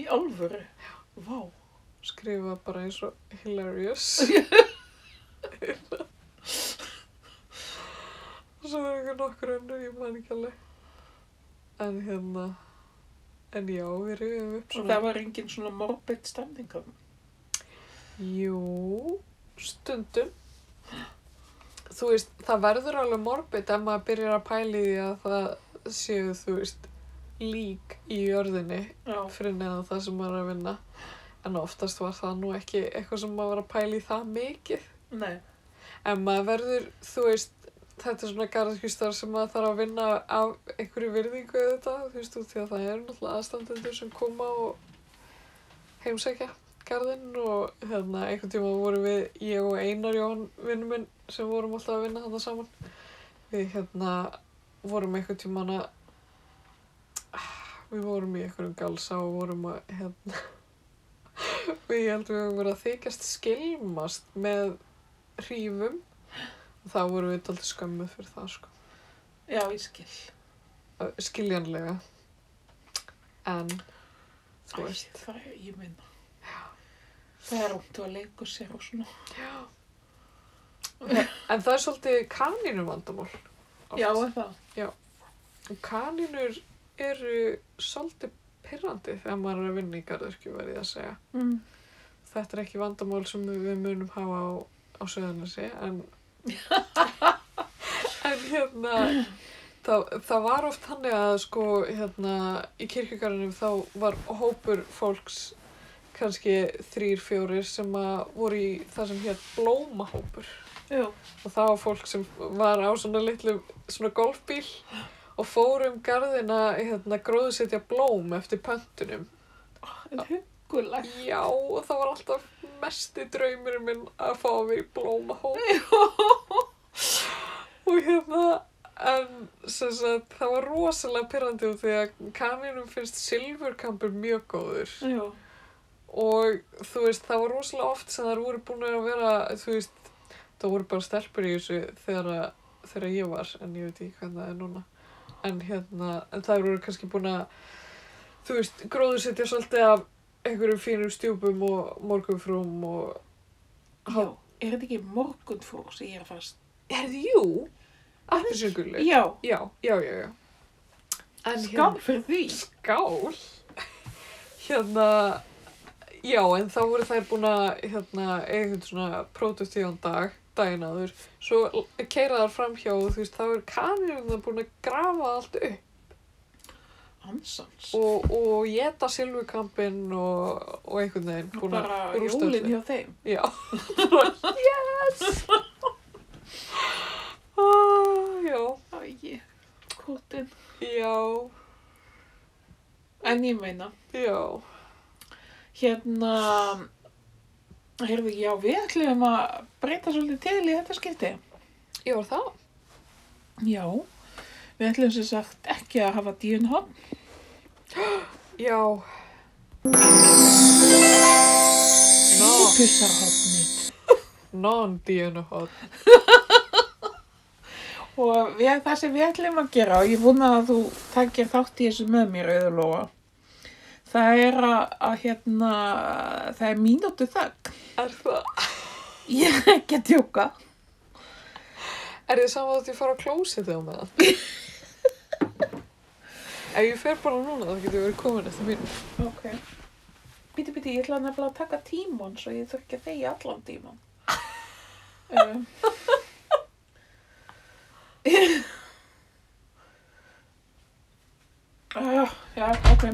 Í alvöru? Vá.
skrifa bara eins og hilarious og svo er einhver nokkur önnur ég man ekki alveg en hérna en já, við rifum upp
Svo
svona
það var engin svona morbid stemning af
jú, stundum þú veist, það verður alveg morbid ef maður byrjar að pæli því að það séu, þú veist lík í jörðinni
Já,
fyrir neðan það sem maður er að vinna en oftast var það nú ekki eitthvað sem maður var að pæla í það mikið
nei.
en maður verður, þú veist þetta er svona garðskvistar sem maður þarf að vinna af einhverju virðingu þetta, þú veist, út því að það eru náttúrulega aðstandendur sem koma og heimsækja garðinn og hérna, einhvern tíma vorum við ég og Einar Jón vinnum minn sem vorum alltaf að vinna þarna saman við hérna vorum einhvern tíma að við vorum í einhverjum galsa og vorum að hérna við heldum við höfum verið að þykjast skilmast með hrífum og þá vorum við alltaf skömmuð fyrir það sko.
Já, ég skil.
Ö, skiljanlega en þú veist
Æ, það er, ég minna. Það er óttu að leika sér og svona.
en það er svolítið kanínum vandamál oft.
Já, er það.
og kanínur eru svolítið pirrandi þegar maður er að vinna í garðurkju verið að segja
Mm.
þetta er ekki vandamál sem við munum hafa á, á söðanessi en en hérna það, það var oft þannig að sko hérna í kirkjugarðinum þá var hópur fólks kannski þrýr, fjórir sem að voru í það sem hér blómahópur
Já.
og það var fólk sem var á svona litlu svona golfbíl og fór um garðina hérna gróðusetja blóm eftir pöntunum
En hugulegt.
Já, og það var alltaf mesti draumurinn minn að fá að vera í blómahóp. og hérna, en sem sagt, það var rosalega pyrrandi út því að kaninum finnst silfurkampur mjög góður.
Já.
Og þú veist, það var rosalega oft sem þær voru búin að vera, þú veist, það voru bara stelpur í þessu þegar, að- þegar ég var, en ég veit ekki hvernig það er núna. En hérna, en þær voru kannski búin að, þú veist, gróðursetja svolítið af einhverjum fínum stjúpum og morgunfrúm og...
Já. Er þetta ekki morgunfrú sem ég er að fast?
Herði, jú, appisugullu.
Já.
Já, já, já, já. En hérna-
Skál fyrir því.
skál hérna já en þá voru þær búin að hérna eitthvað svona pródustíðan dag daginn áður svo keira þar framhjá og þú veist þá er kanirinn það búin að grafa allt upp
Hansans.
og, og geta silfukampinn og, og einhvern veginn
Og
búin að
bara
rústa
jólin
öllu.
hjá þeim.
já yes ah, já
Æ, kótin.
já
En ég meina,
já
hérna, heyrðu, já, við ætlum að breyta svolítið til í þetta skipti.
ég var það
Já, við ætlum sem sagt ekki að hafa dýrnhótt.
já
Í pussarhóttnið.
Non-DNA hot.
Og við, það sem við ætlum að gera, og ég vona að þú takir þátt í þessu með mér, auðurlóa, það er að, að, hérna, það er mínútu þögg.
Er það?
Ég er ekki að djóka.
Er þið saman að ég fara á klósitið á meðan? Ef ég fer bara núna þá getur ég verið komin eftir mínu.
Ok. Bíti, bíti, ég ætla nefnilega að taka tíman svo ég þurfi ekki að þegja allan tíman. um. uh, já, ok.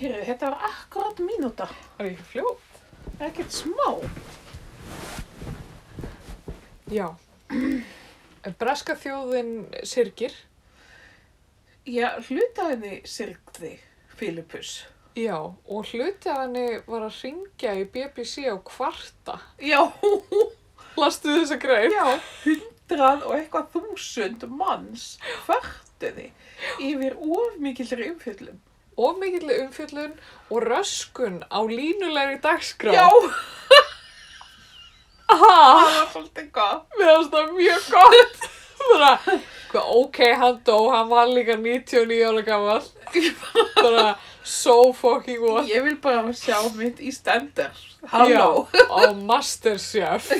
Heyrðu, þetta var akkurat mínúta.
Er ég fljóð?
Ekkert smá.
Já. Breska þjóðin sirgir.
Já, hlutaðinni sirgði Filippus.
Já, og hluti að henni var að ringja í BBC á kvarta.
Já,
Lastu þessa grein?
já, hundrað og eitthvað þúsund manns færtuði yfir of mikillri umfjöllum.
Of mikill umfjöllun og röskun á línulegri dagskrá.
Já, það
Ha,
var svolítið gott.
mér finnst það mjög gott. Bara, hvað, ok, hann dó, hann var líka 99 ára gammal. Bara, so fucking what.
Ég vil bara sjá mitt í stendur.
Já,
Halló.
á Masterchef.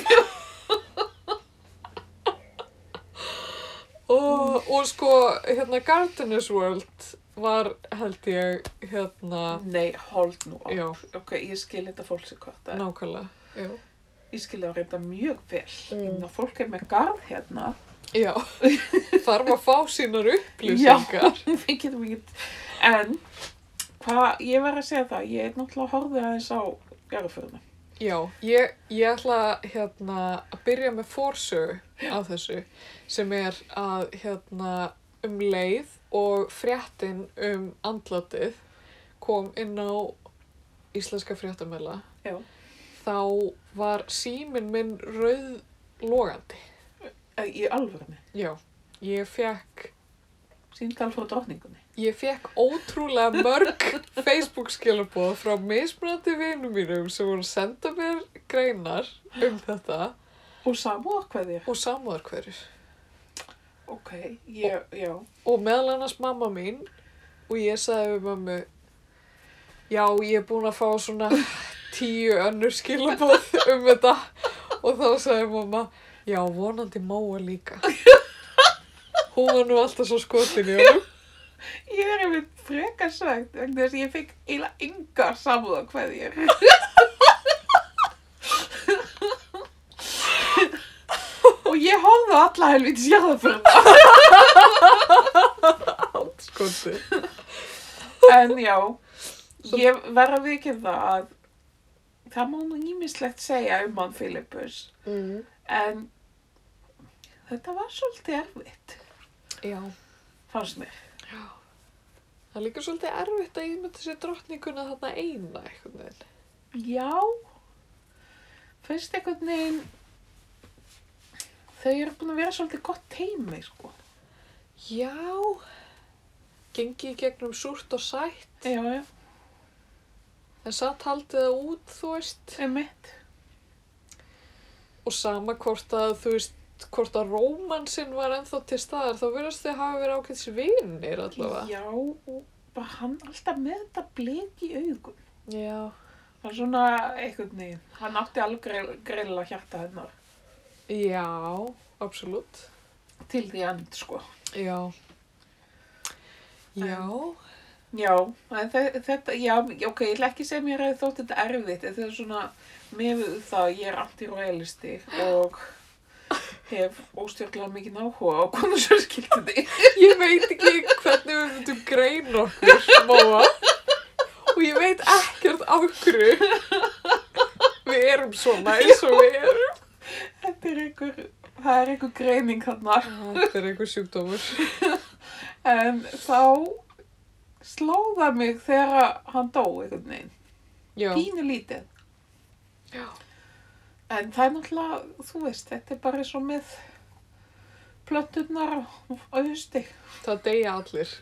og, og sko, hérna, Gardeners World var, held ég, hérna,
Nei, hold nú á.
já,
Ok, ég skil þetta fólksikvarta.
nákvæmlega, já.
Ég skil það reynda mjög vel.
Mm.
Mm. Fólk er með garð hérna.
Já, þarf að fá sínar upplýsingar.
Við getum ekki, en hvað, ég var að segja það, ég er náttúrulega horfið aðeins á jarðförðuna.
Já, ég, ég ætla hérna, að byrja með fórsögu af þessu sem er að hérna, um leið og fréttin um andlatið kom inn á íslenska fréttamæla
Já.
þá var síminn minn rauðlogandi.
Eh, Í alvörunni,
Já, ég fekk
síndal frá drókningunni.
Ég fekk ótrúlega mörg Facebook skilabóð frá mismunandi vinum mínum sem voru að senda mér greinar um þetta
Og samúar hvað þér?
og samúðar hverjur.
Ok, ég, já.
Og meðal annars mamma mín og ég sagði við mammu Já, ég er búin að fá svona tíu önnur skilabóð um þetta og þá sagði mamma Já, vonandi Móa líka. Hún var nú alltaf svo skotin í honum.
Ég er einmitt frekar sagt vegna þess að ég fekk eila yngar samúðar hvað þér. Og ég horfði á alla helvitis jarðförðuna.
Allt skotin.
En já, ég verð að vikið það að það má nú nýmislegt segja um hann Filippus.
Mm.
En þetta var svolítið erfitt,
Já.
fannst mér.
Það er líka svolítið erfitt að ímynda sér drottninguna þarna eina einhvern veginn.
Já, finnst einhvern veginn, þau eru búin að vera svolítið gott teimi, sko.
Já, gengi í gegnum súrt og sætt,
Já, já,
en satt haldið það út, þú veist,
einmitt.
og sama hvort að, þú veist, hvort að rómansinn var ennþá til staðar, þá verðast þið hafa verið ákveðs vinnir allavega.
Já, og bara hann alltaf með þetta blek í augun.
Já.
Það er svona einhvern veginn, hann átti alveg greila hjarta hennar
Já, absolutt.
til því end, sko.
Já. Já,
Já, en þe- þetta, já, ok, ég ætla ekki að segja mér að þótt þetta erfitt, en þetta er svona, mér við það, að ég er anti-royalisti og hef óstjórnlega mikið náhuga á konusjörskildinni.
ég veit ekki hvernig við myndum greina okkur, Móa, og ég veit ekkert á hverju við erum svona eins og við erum.
Þetta er einhver, það er einhver greining þarna.
Þetta er einhver sjúkdómur.
En þá slóða mig þegar að hann dó einhvern veginn,
Já,
pínu lítið.
Já.
En það er náttúrulega, þú veist, þetta er bara svo með plöturnar á á hausti.
það deyja allir,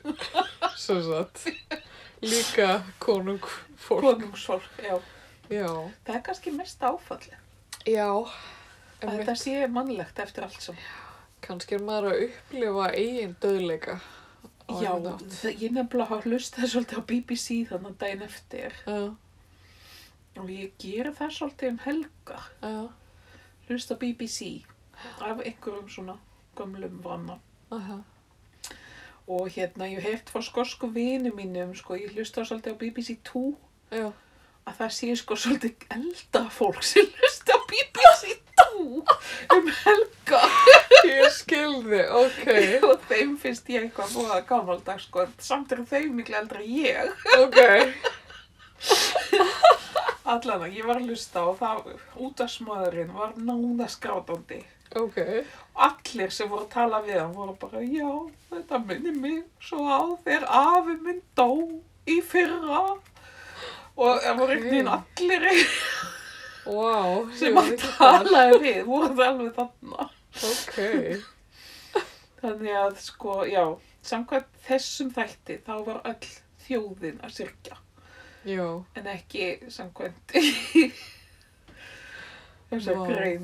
svo satt. Líka konung fólk.
Konungsfólk, já.
Já,
Það er kannski mest áfallið.
já.
Að
Einmitt.
þetta sé mannlegt eftir allt saman.
Kannski er maður að upplifa eigin döðleika. á
Já,
einhvern hátt.
þ- ég nefnilega hafa hlustað svolítið á BBC þannig daginn eftir
Já,
og ég gera það svolítið um helgar.
já,
Hlusta á BBC af einhverjum svona gömlum vanna.
aha,
Og hérna, ég hef heyrt frá skosku vinu mínum, sko, ég hlusta svolítið á BBC 2
já.
að það sé sko svolítið elda fólk sem hlusta á BBC 2 um helgar.
Ég skilði, ok,
og þeim finnst ég eitthvað búið að gamaldags sko, en samt eru þau miklu eldra en ég
ok.
allan að ég var að hlusta og það útasmaðurinn var nánast grátandi.
Ok.
Allir sem voru að tala við hann voru bara, já, þetta minni mig svo á þegar afi minn dó í fyrra. Og það voru einhvern veginn allir
Wow.
sem að talaði við, voru það alveg þarna.
Ok.
Þannig að sko, já, samkvæmt þessum þætti þá var öll þjóðin að syrkja.
Jó.
En ekki samkvæmt þessar
Vá.
grein.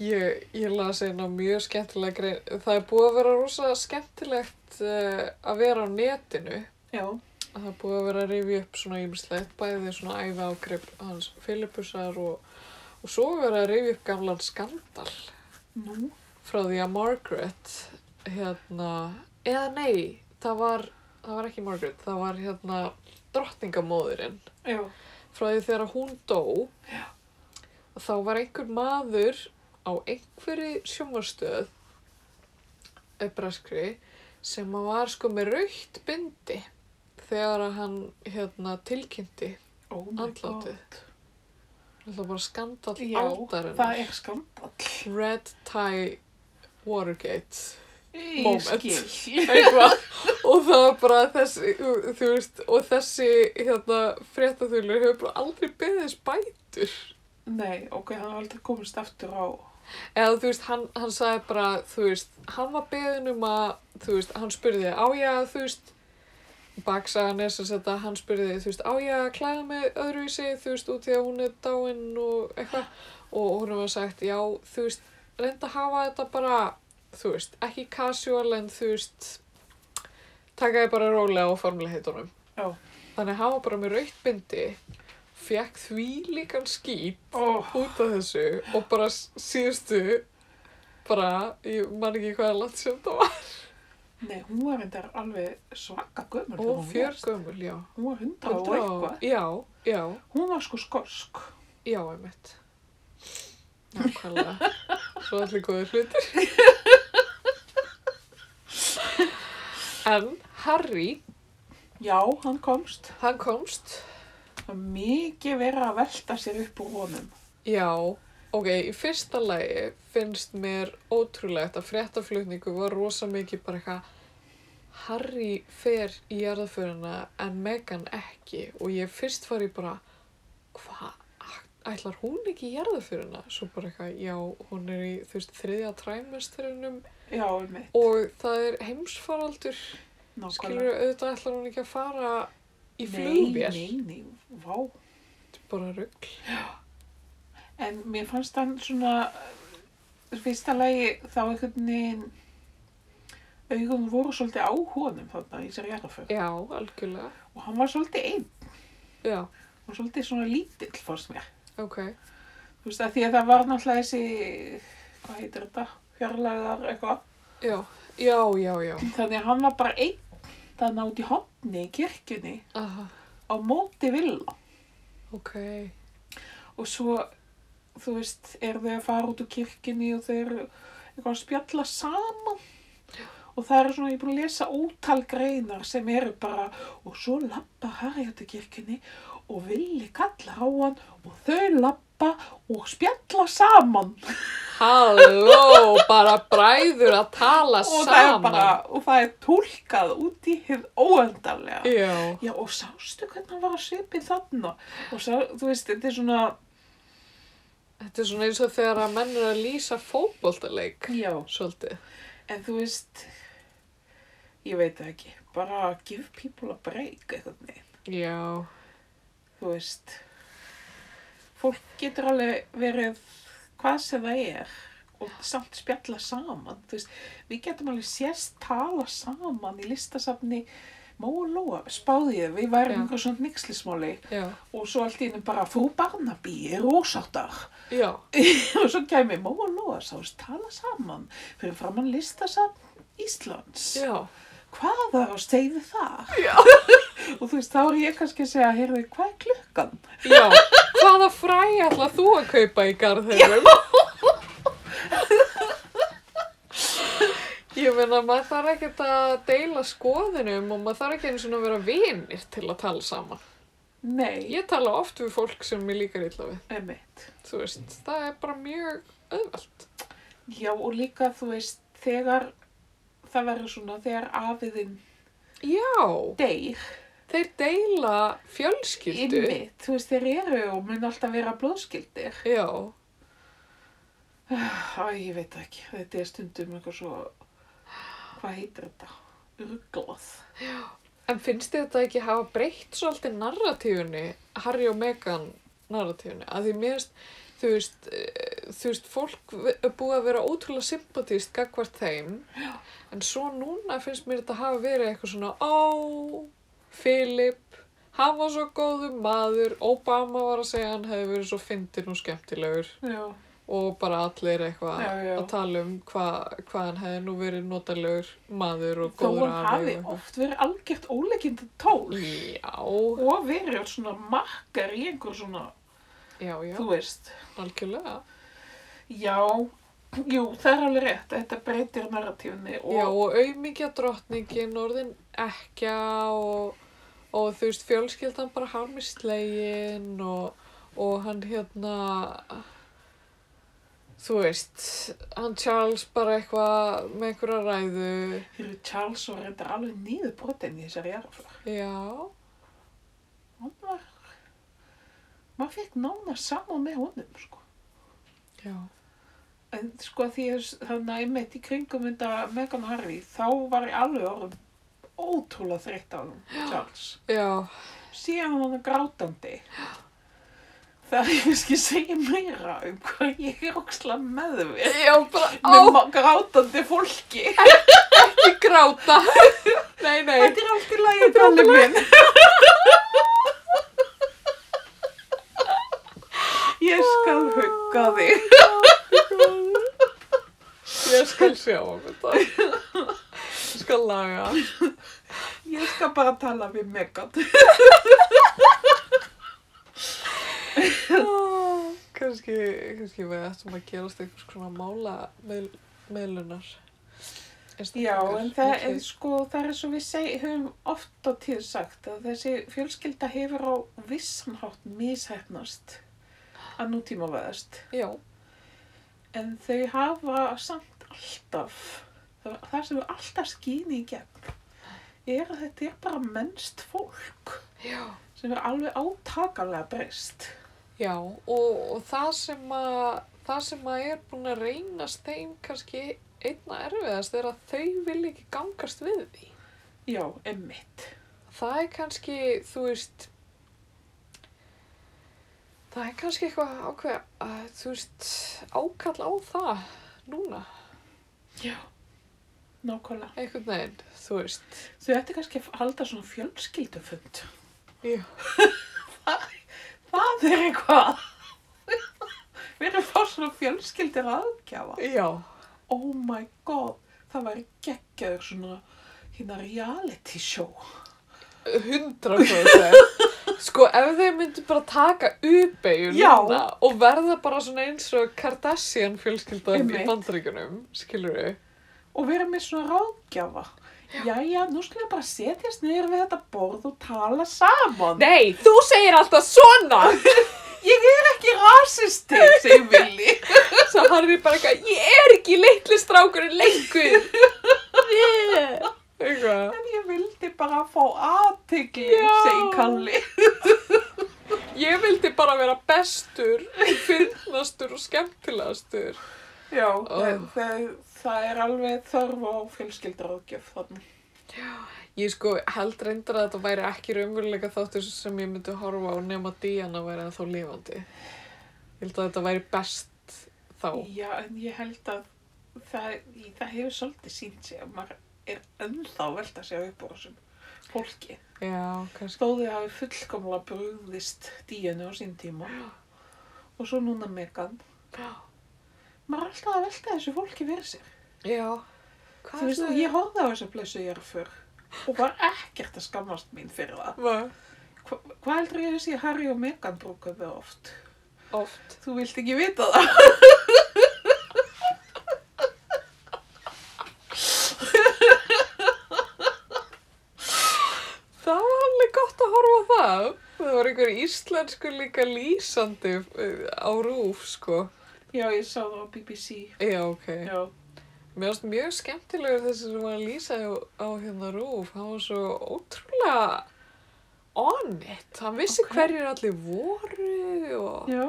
Ég, ég las eina mjög skemmtilega grein. Það er búið að vera rosa skemmtilegt uh, að vera á netinu.
Já,
Það er búið að vera að rifja upp svona ýmislegt, bæði svona æfa ágrip hans Filippusar og, og svo er verið að rifja upp gamlan skandal
nú,
frá því að Margaret, hérna, eða nei, það var, það var ekki Margaret, það var hérna drottningamóðurinn
já,
frá því þegar hún dó og þá var einhver maður á einhverju sjónvarstöð braskri sem að var sko með raukt bindi þegar að hann hérna, tilkynnti
oh my
Andlátið.
god.
það bara skandal
Já, það
aldarinnar
er skandal.
red tie watergate
Ég
Moment.
skil.
eitthvað og það var bara þessi þú veist, og þessi hérna, fréttaþulur hefur bara aldrei beðist bætur
Nei, ok, hann var aldrei komist aftur á.
eða þú veist, hann, hann sagði bara þú veist, hann var beðin um að þú veist, hann spurði, á ég að þú veist baksagan er sem þetta hann spurði, þú veist, á ég að klæða mig öðruvísi, þú veist, út í að hún er dáin og eitthvað, og hún var sagt já, þú veist, reynda að hafa þetta bara, þú veist, ekki casual en þú veist taka þið bara rólega á formulegheitunum
Já.
þannig að hafa bara með rautbindi fekk því líkan skít
Ó,
út af þessu og bara s- síðustu bara, ég man ekki hvað er langt sem það var
nei, hún var reyndar alveg svaka gömur. þegar
og
hún
fjör
lést.
gömul, já
Hún var hundra og
Hundrað og-
eitthvað.
já, já,
Hún var sko skorsk.
já, einmitt nákvæmlega svo allir góðir hlutir en Harry,
Já, hann komst.
hann komst
Það var mikið verið að velta sér upp úr honum.
já, ok, í fyrsta lagi finnst mér ótrúlegt að fréttaflutningu var rosa mikið bara eitthvað Harry fer í jarðaföruna en Meghan ekki og ég fyrst var ég bara hvað, ætlar hún ekki í jarðaföruna? Svo bara eitthvað, já, hún er í þú veist, þriðja træmesturinnum
Já, einmitt.
og það er heimsfaraldur
Nákvæmlega.
skilur auðvitað ætlar hún ekki að fara í
Nei,
flugvél,
nei, nei, vá.
bara rugg
En mér fannst hann svona, uh, fyrsta lagi þá einhvern veginn, augun voru svolítið á honum þarna í þessari jarðafögg.
já, algjörlega,
Og hann var svolítið einn
já,
og svolítið svona lítill fórst mér.
ok
Þú veist að því að það var náttúrulega þessi, hvað heitir þetta, fjarlæðar eitthvað.
Já, já, já, já.
Þannig að hann var bara einn þarna út í hopni í kirkjunni
Aha,
á móti villa.
ok.
Og svo, þú veist, eru þau að fara út úr kirkjunni og þau eru eitthvað að spjalla saman. Og það eru svona, ég er búin að lesa ótal greinar sem eru bara, og svo lappa Harry út úr kirkjunni og villi kalla á hann og þau lappa og spjalla saman.
Halló, bara bræður að tala
Og það er
saman.
bara, og það er tólkað út í hinn óendanlega.
Já,
Já, og sástu hvernig hann var að svipið þarna? Og sá, þú veist, þetta er svona,
þetta er svona eins og þegar að menn eru að lýsa fótboltaleik.
já,
Svolítið.
En þú veist, ég veit það ekki, bara give people a break eitthvað neginn,
Já,
þú veist. Fólk getur alveg verið hvað sem það er og samt spjalla saman, þú veist. Við getum alveg sérst tala saman í listasafni Móa Lóa, spáðið, við værum
Já.
einhver svona nixlismáli
já,
og svo allt í einu bara frú Barnaby er ósáttar.
já,
og svo kæmi Móa Lóa, sást tala saman fyrir framann listasafn Íslands
já.
hvað var á steiði þar? Já. og þú veist, þá er ég kannski að segja, heyrðu, hvað er klukkan?
Já, hvaða fræ ætlað þú að kaupa í garðinum? Ég meina, maður þarf ekkert að deila skoðinum og maður þarf ekki einu svona að vera vinir til að tala saman.
Nei,
Ég tala oft við fólk sem mér líkar illa við.
emitt.
Þú veist, það er bara mjög auðvelt.
Já, og líka, þú veist, þegar það verður svona, þegar afiðin
Já,
deyr,
þeir deila fjölskyldu.
ymmit, þú veist, þeir eru og mun alltaf vera blóðskildir.
Já,
Æ, ég veit það ekki, þetta er stundum eitthvað svo, hvað heitir þetta? Ruglað.
en finnst þið þetta ekki hafa breytt svolítið narratífunni, Harry og Meghan narratífunni? Að því mér, þú veist, eh, þú veist, fólk ve- er búið að vera ótrúlega sympatíst gagvart þeim. Já. En svo núna finnst mér þetta hafa verið eitthvað svona, ó, Philip, hann var svo góður maður, Obama var að segja að hann hefði verið svo fyndin og skemmtilegur.
Já,
og bara allir eitthvað
Já, já.
að tala um hva, hvað hann hefði nú verið notalegur maður og
þó
góður
hún hafi oft verið algjört óleikindi tól
Já,
og verið svona makkar í einhver svona,
já, já,
þú veist.
algjörlega.
Já, jú, það er alveg rétt, þetta breytir narratífni og...
Já, og auðmikja drottningin orðin ekki og, og þú veist, fjölskyldan bara harmi slegin og, og hann hérna, þú veist, hann Charles bara eitthvað með einhverja ræðu.
Þeir Charles var reyndar alveg nýðu brotin í þessari jarðför.
Já,
Hann var, maður fekk nána saman með honum, sko.
já,
En sko því að þannig að ég meitt í kringum mynda Megan Harry, þá var ég alveg orðum ótrúlega þreytt á honum, Charles.
já,
Síðan var hann grátandi. Það er ég veist ekki segja meira um hvað ég er ókslega meðvið.
já, bara
Með
á,
ma- grátandi fólki.
ekki gráta. nei, nei.
Þetta er allt í lagi, Kalli minn. Ég skal hugga þig.
Ég skal sjá um þetta. Ég skal laga.
Ég skal bara tala við Megan.
Kanski, kannski við ættum að gerast einhvers konar mála með, meðlunar.
Já, en það er sko, það er svo við seg, höfum oft á tíð sagt að þessi fjölskylda hefur á vissanhátt mishæfnast að nútíma veðast.
Já,
En þau hafa samt alltaf, það, það sem við alltaf skýni í gegn, er að þetta er bara mennst fólk.
já.
sem er alveg átakalega breyst.
Já, og, og það sem að það sem að er búin að reynast þeim kannski einna erfiðast er að þau vil ekki gangast við því.
Já, emmitt.
Það er kannski, þú veist, það er kannski eitthvað ákveð, að, þú veist, ákall á það núna,
Já. Nákvæmlega.
einhvern veginn, þú veist.
Þau ætti kannski að halda svona fjölskyldufund.
Já.
Það er eitthvað. Við erum að fá svona fjölskyldir aðgjafa.
Já.
Oh my god, það væri geggjaður svona hérna reality show.
Hundra prosent. Sko, ef þeir myndu bara taka uppeigju
Já.
núna og verða bara svona eins og Kardashian fjölskyldan í
Einmitt.
bandaríkunum, skilur við?
Og vera með svona ráðgjafa. Jæja, nú skulum við bara setjast niður við þetta borð og tala saman.
Nei, þú segir alltaf svona!
Ég er ekki rasisti, segir Vili.
Svo Harry bara eitthvað, ég er ekki litli strákurinn lengur. Yeah. Eitthvað.
En ég vildi bara fá aðtegli,
Já.
segi Kalli.
Ég vildi bara vera bestur, fyndnastur og skemmtilegastur.
Já,
Ó.
það, það, það er alveg þörf á fjölskyldaráðgjöf þannig.
Ég sko held reyndar að þetta væri ekki raunveruleika þáttur sem ég myndi horfa á nema Diana væri ennþá lifandi. Ég held að þetta væri best þá.
Já, en ég held að það, í- það hefur svolítið sínt sig að maður er ennþá að velta sig upp á þessum fólki.
Já, kannski.
Stóðið hafi fullkomlega brugðist díjanu á sín tíma og svo núna Megan.
Já.
Maður er alltaf að velta þessu fólki fyrir sér.
Já.
Þú veist, og ég horfði á þessu blessu ég er fyrr og var ekkert að skammast mín fyrir það.
Hvað?
Hva, hvað heldur ég að sé Harry og Meghan brúkuðu oft?
Oft.
Þú vilt ekki vita það.
Það var alveg gott að horfa á það. Það var einhver íslensku líka lýsandi eh, á rúf, sko.
Já, ég sá það á BBC.
Já, ok.
Já,
Mér finnst mjög skemmtilegur þessi sem var að lýsa á, á hérna Rúf. Hann var svo ótrúlega on it. Hann vissi
Ok.
hverjir allir voru og,
já,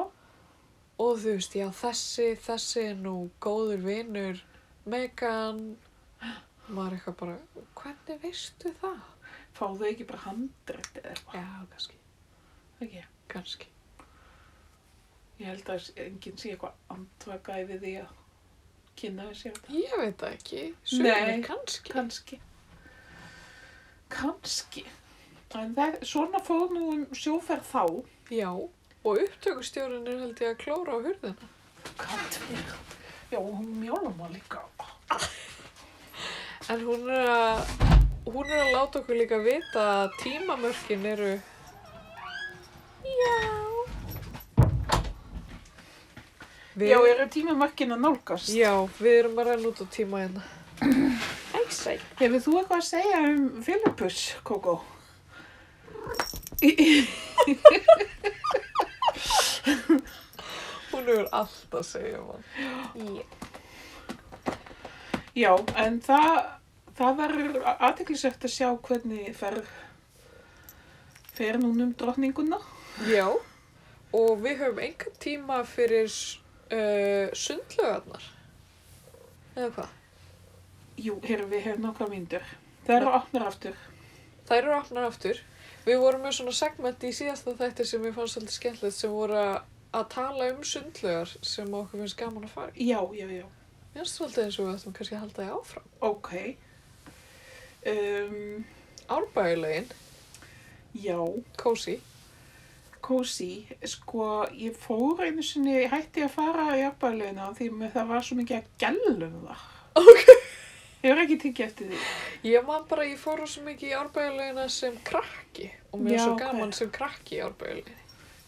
og þú veist, já þessi, þessi er nú góður vinur, Megan. Maður er eitthvað bara, hvernig veistu það?
fá þau ekki bara handrætt eða eitthvað.
Já, kannski,
Ekki,
kannski.
ég held að enginn sé eitthvað andvakaði við því að kynna þessi á það.
Ég veit það ekki. Sumir
Nei.
kannski.
Kanski. Kanski. En það, svona fór nú um sjóferð þá.
Já, og upptökustjórinn er held ég að klóra á hurðina.
Gat verið. Já, og hún mjálum að líka.
En hún er að, hún er að láta okkur líka vita að tímamörkin eru... Já. Við,
Já, eru tímamarkin að nálgast?
já, við erum að renna út á tíma hérna. Æsæ.
Hefur þú eitthvað að segja um Filippus, Kókó?
Hún hefur allt að segja um hann.
Já, en það, það verður aðteklisvægt að sjá hvernig fer, fer núna um drottninguna.
Já, og við höfum engan tíma fyrir uh, sundlögarnar. Eða hvað?
Jú, hér við hefum nokkra myndur. Það eru opnar aftur.
Þær eru opnar aftur. Við vorum með svona segment í síðasta þætti sem ég fannst svolítið skemmtilegt sem voru að- að tala um sundlögar sem okkur finnst gaman að fara í.
Já, já, já.
Mér finnst svolítið eins og við ættum kannski að halda því áfram.
Ok. Um,
Árbæjulegin,
já,
kósi.
kósi. Sko, ég fór einu sinni, ég hætti að fara í árbæðlegina því með það var svo mikið að gælum það.
Ok.
Ég er ekki tekið eftir því.
Ég man bara, ég fór svo mikið í árbæjulegina sem krakki og mér
Já,
er svo
ok.
gaman sem krakki í árbæjulegin.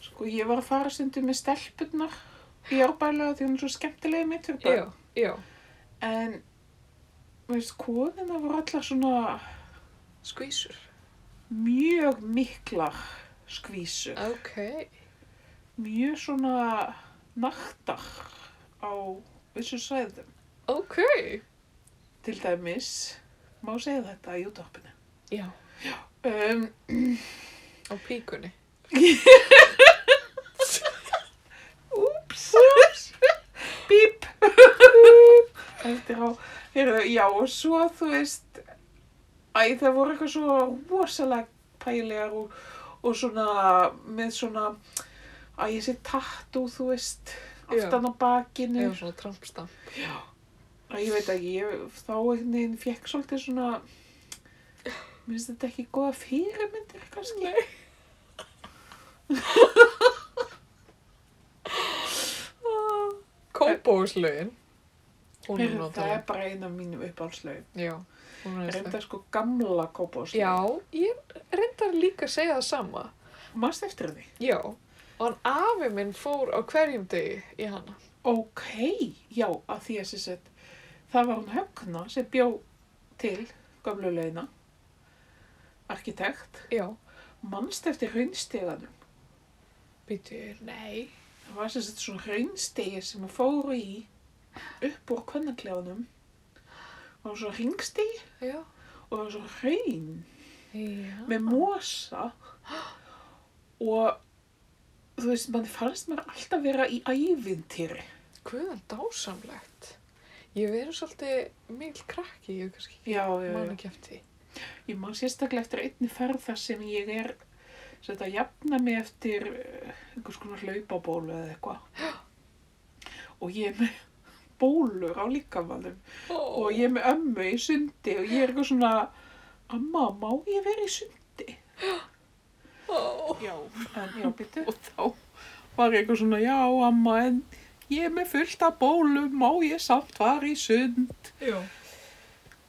Sko, ég var að fara stundum með stelpunnar í árbæðlega því hún er svo skemmtilega mitt fyrir börn.
Já, já.
En, veist, konina voru allar svona
Skvísur.
mjög miklar skvísur.
Ok.
Mjög svona naktar á vissu svæðum.
Ok.
Til dæmis, má segja þetta í útvarpinu.
Já.
Um,
Á píkunni.
úps, bíp, eftir á, heyrðu, já, og svo, þú veist, æ, það voru eitthvað svo rosalega pælegar og, og svona, með svona, æ, ég sé tattoo, þú veist,
Já.
aftan á bakinu,
Eða svona trampstam.
æ, ég veit ekki, ég, þá einhvern veginn fekk svolítið svona, minnst þetta ekki góða fyrirmyndir, kannski? Nei.
Kópóðslögin. Hún er
Það
náttúrulega.
er bara eina af mínum uppáhaldslögum.
Já. Hún er einstaklega.
Reynda sko gamla kópáslögum.
Já, ég reyndar líka að segja það sama.
Mást eftir því?
Já. Og hann afi minn fór á hverjum degi í hana.
Ok, já, að því að sem sett, það var hún Högna sem bjó til gömlulegina, arkitekt,
Já.
mannst eftir hraunsteganum.
Býtu, nei.
Það var sem sett svona hraunstegi sem að fóru í upp úr kvennaklefanum. Það var svona hringstegi
Já.
og það var svona hraun
Já.
með mosa og þú veist, mann fannst maður alltaf vera í ævintýri.
Guðan dásamlegt. Ég verið svolítið mikil krakki, ég kannski
Já,
man ekki eftir því.
Ég man sérstaklega eftir einni ferð þar sem ég er sem þetta jafna mig eftir eh, einhvers konar hlaupabólu eða eitthvað. Og ég er með bólur á líkamannum og ég er með ömmu í sundi og ég er eitthvað svona Amma, má ég vera í sundi?
Ó.
Já. En já, býttu.
Og þá.
Var ég eitthvað svona, já, amma, en ég er með fullt af bólum, má ég samt fara í sund?
Já.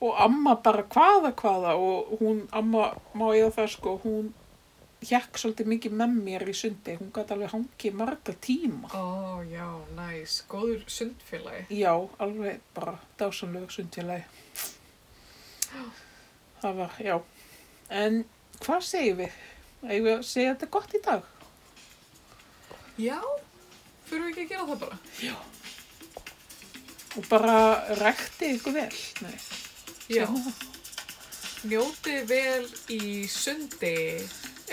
og amma bara hvaða hvaða og hún, amma má ég það sko, hún hjekk svolítið mikið með mér í sundi, hún gæti alveg hangið í marga tíma.
Ó, já, næs. Góður sundfélagi.
Já, alveg bara dásanlegu sundfélagi. Það var, já. En hvað segjum við? Eigum við að segja þetta gott í dag?
Já, fyrir við ekki að gera það bara.
og bara rekti ykkur vel. Nei,
Já,
segir hún það?
njótið vel í sundi.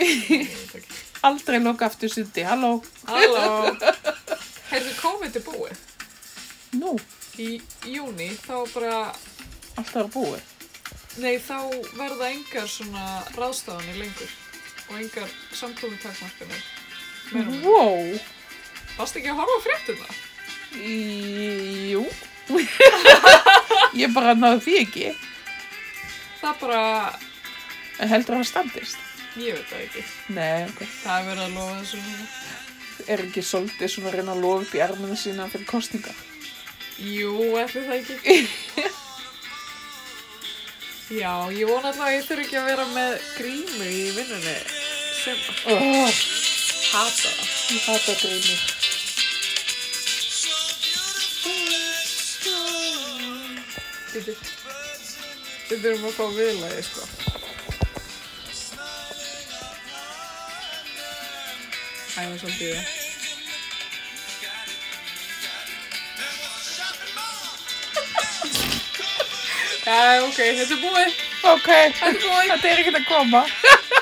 Ég veit ekki.
Aldrei loka aftur sundi, halló.
Halló. Heyrðu, COVID er búið.
Nú,
Í júni þá bara,
allt er búið.
nei þá verða engar svona ráðstafanir lengur og engar samkomi takmarkanir. Meira og minna.
Wow,
Varst ekki að horfa á fréttina?
Í- jú. Ég bara náðu því ekki,
Það bara,
en heldur að það standist.
ég veit það ekki.
Nei, ok.
Það er verið að lofa þessu núna.
Er ekki svolítið svona að reyna að lofa upp í armina sína fyrir kostninga?
Jú, ætli það ekki. Já, ég vona alltaf að ég þurfi ekki að vera með grímu í vinnunni sem
Oh,
hata það.
ég hata grími.
Bíddu. Við þurfum að fá viðlagi, sko. Æfa svolítið það. Já, ok, þetta er búið.
Ok,
Þetta er búið.
þetta er ekkert að koma.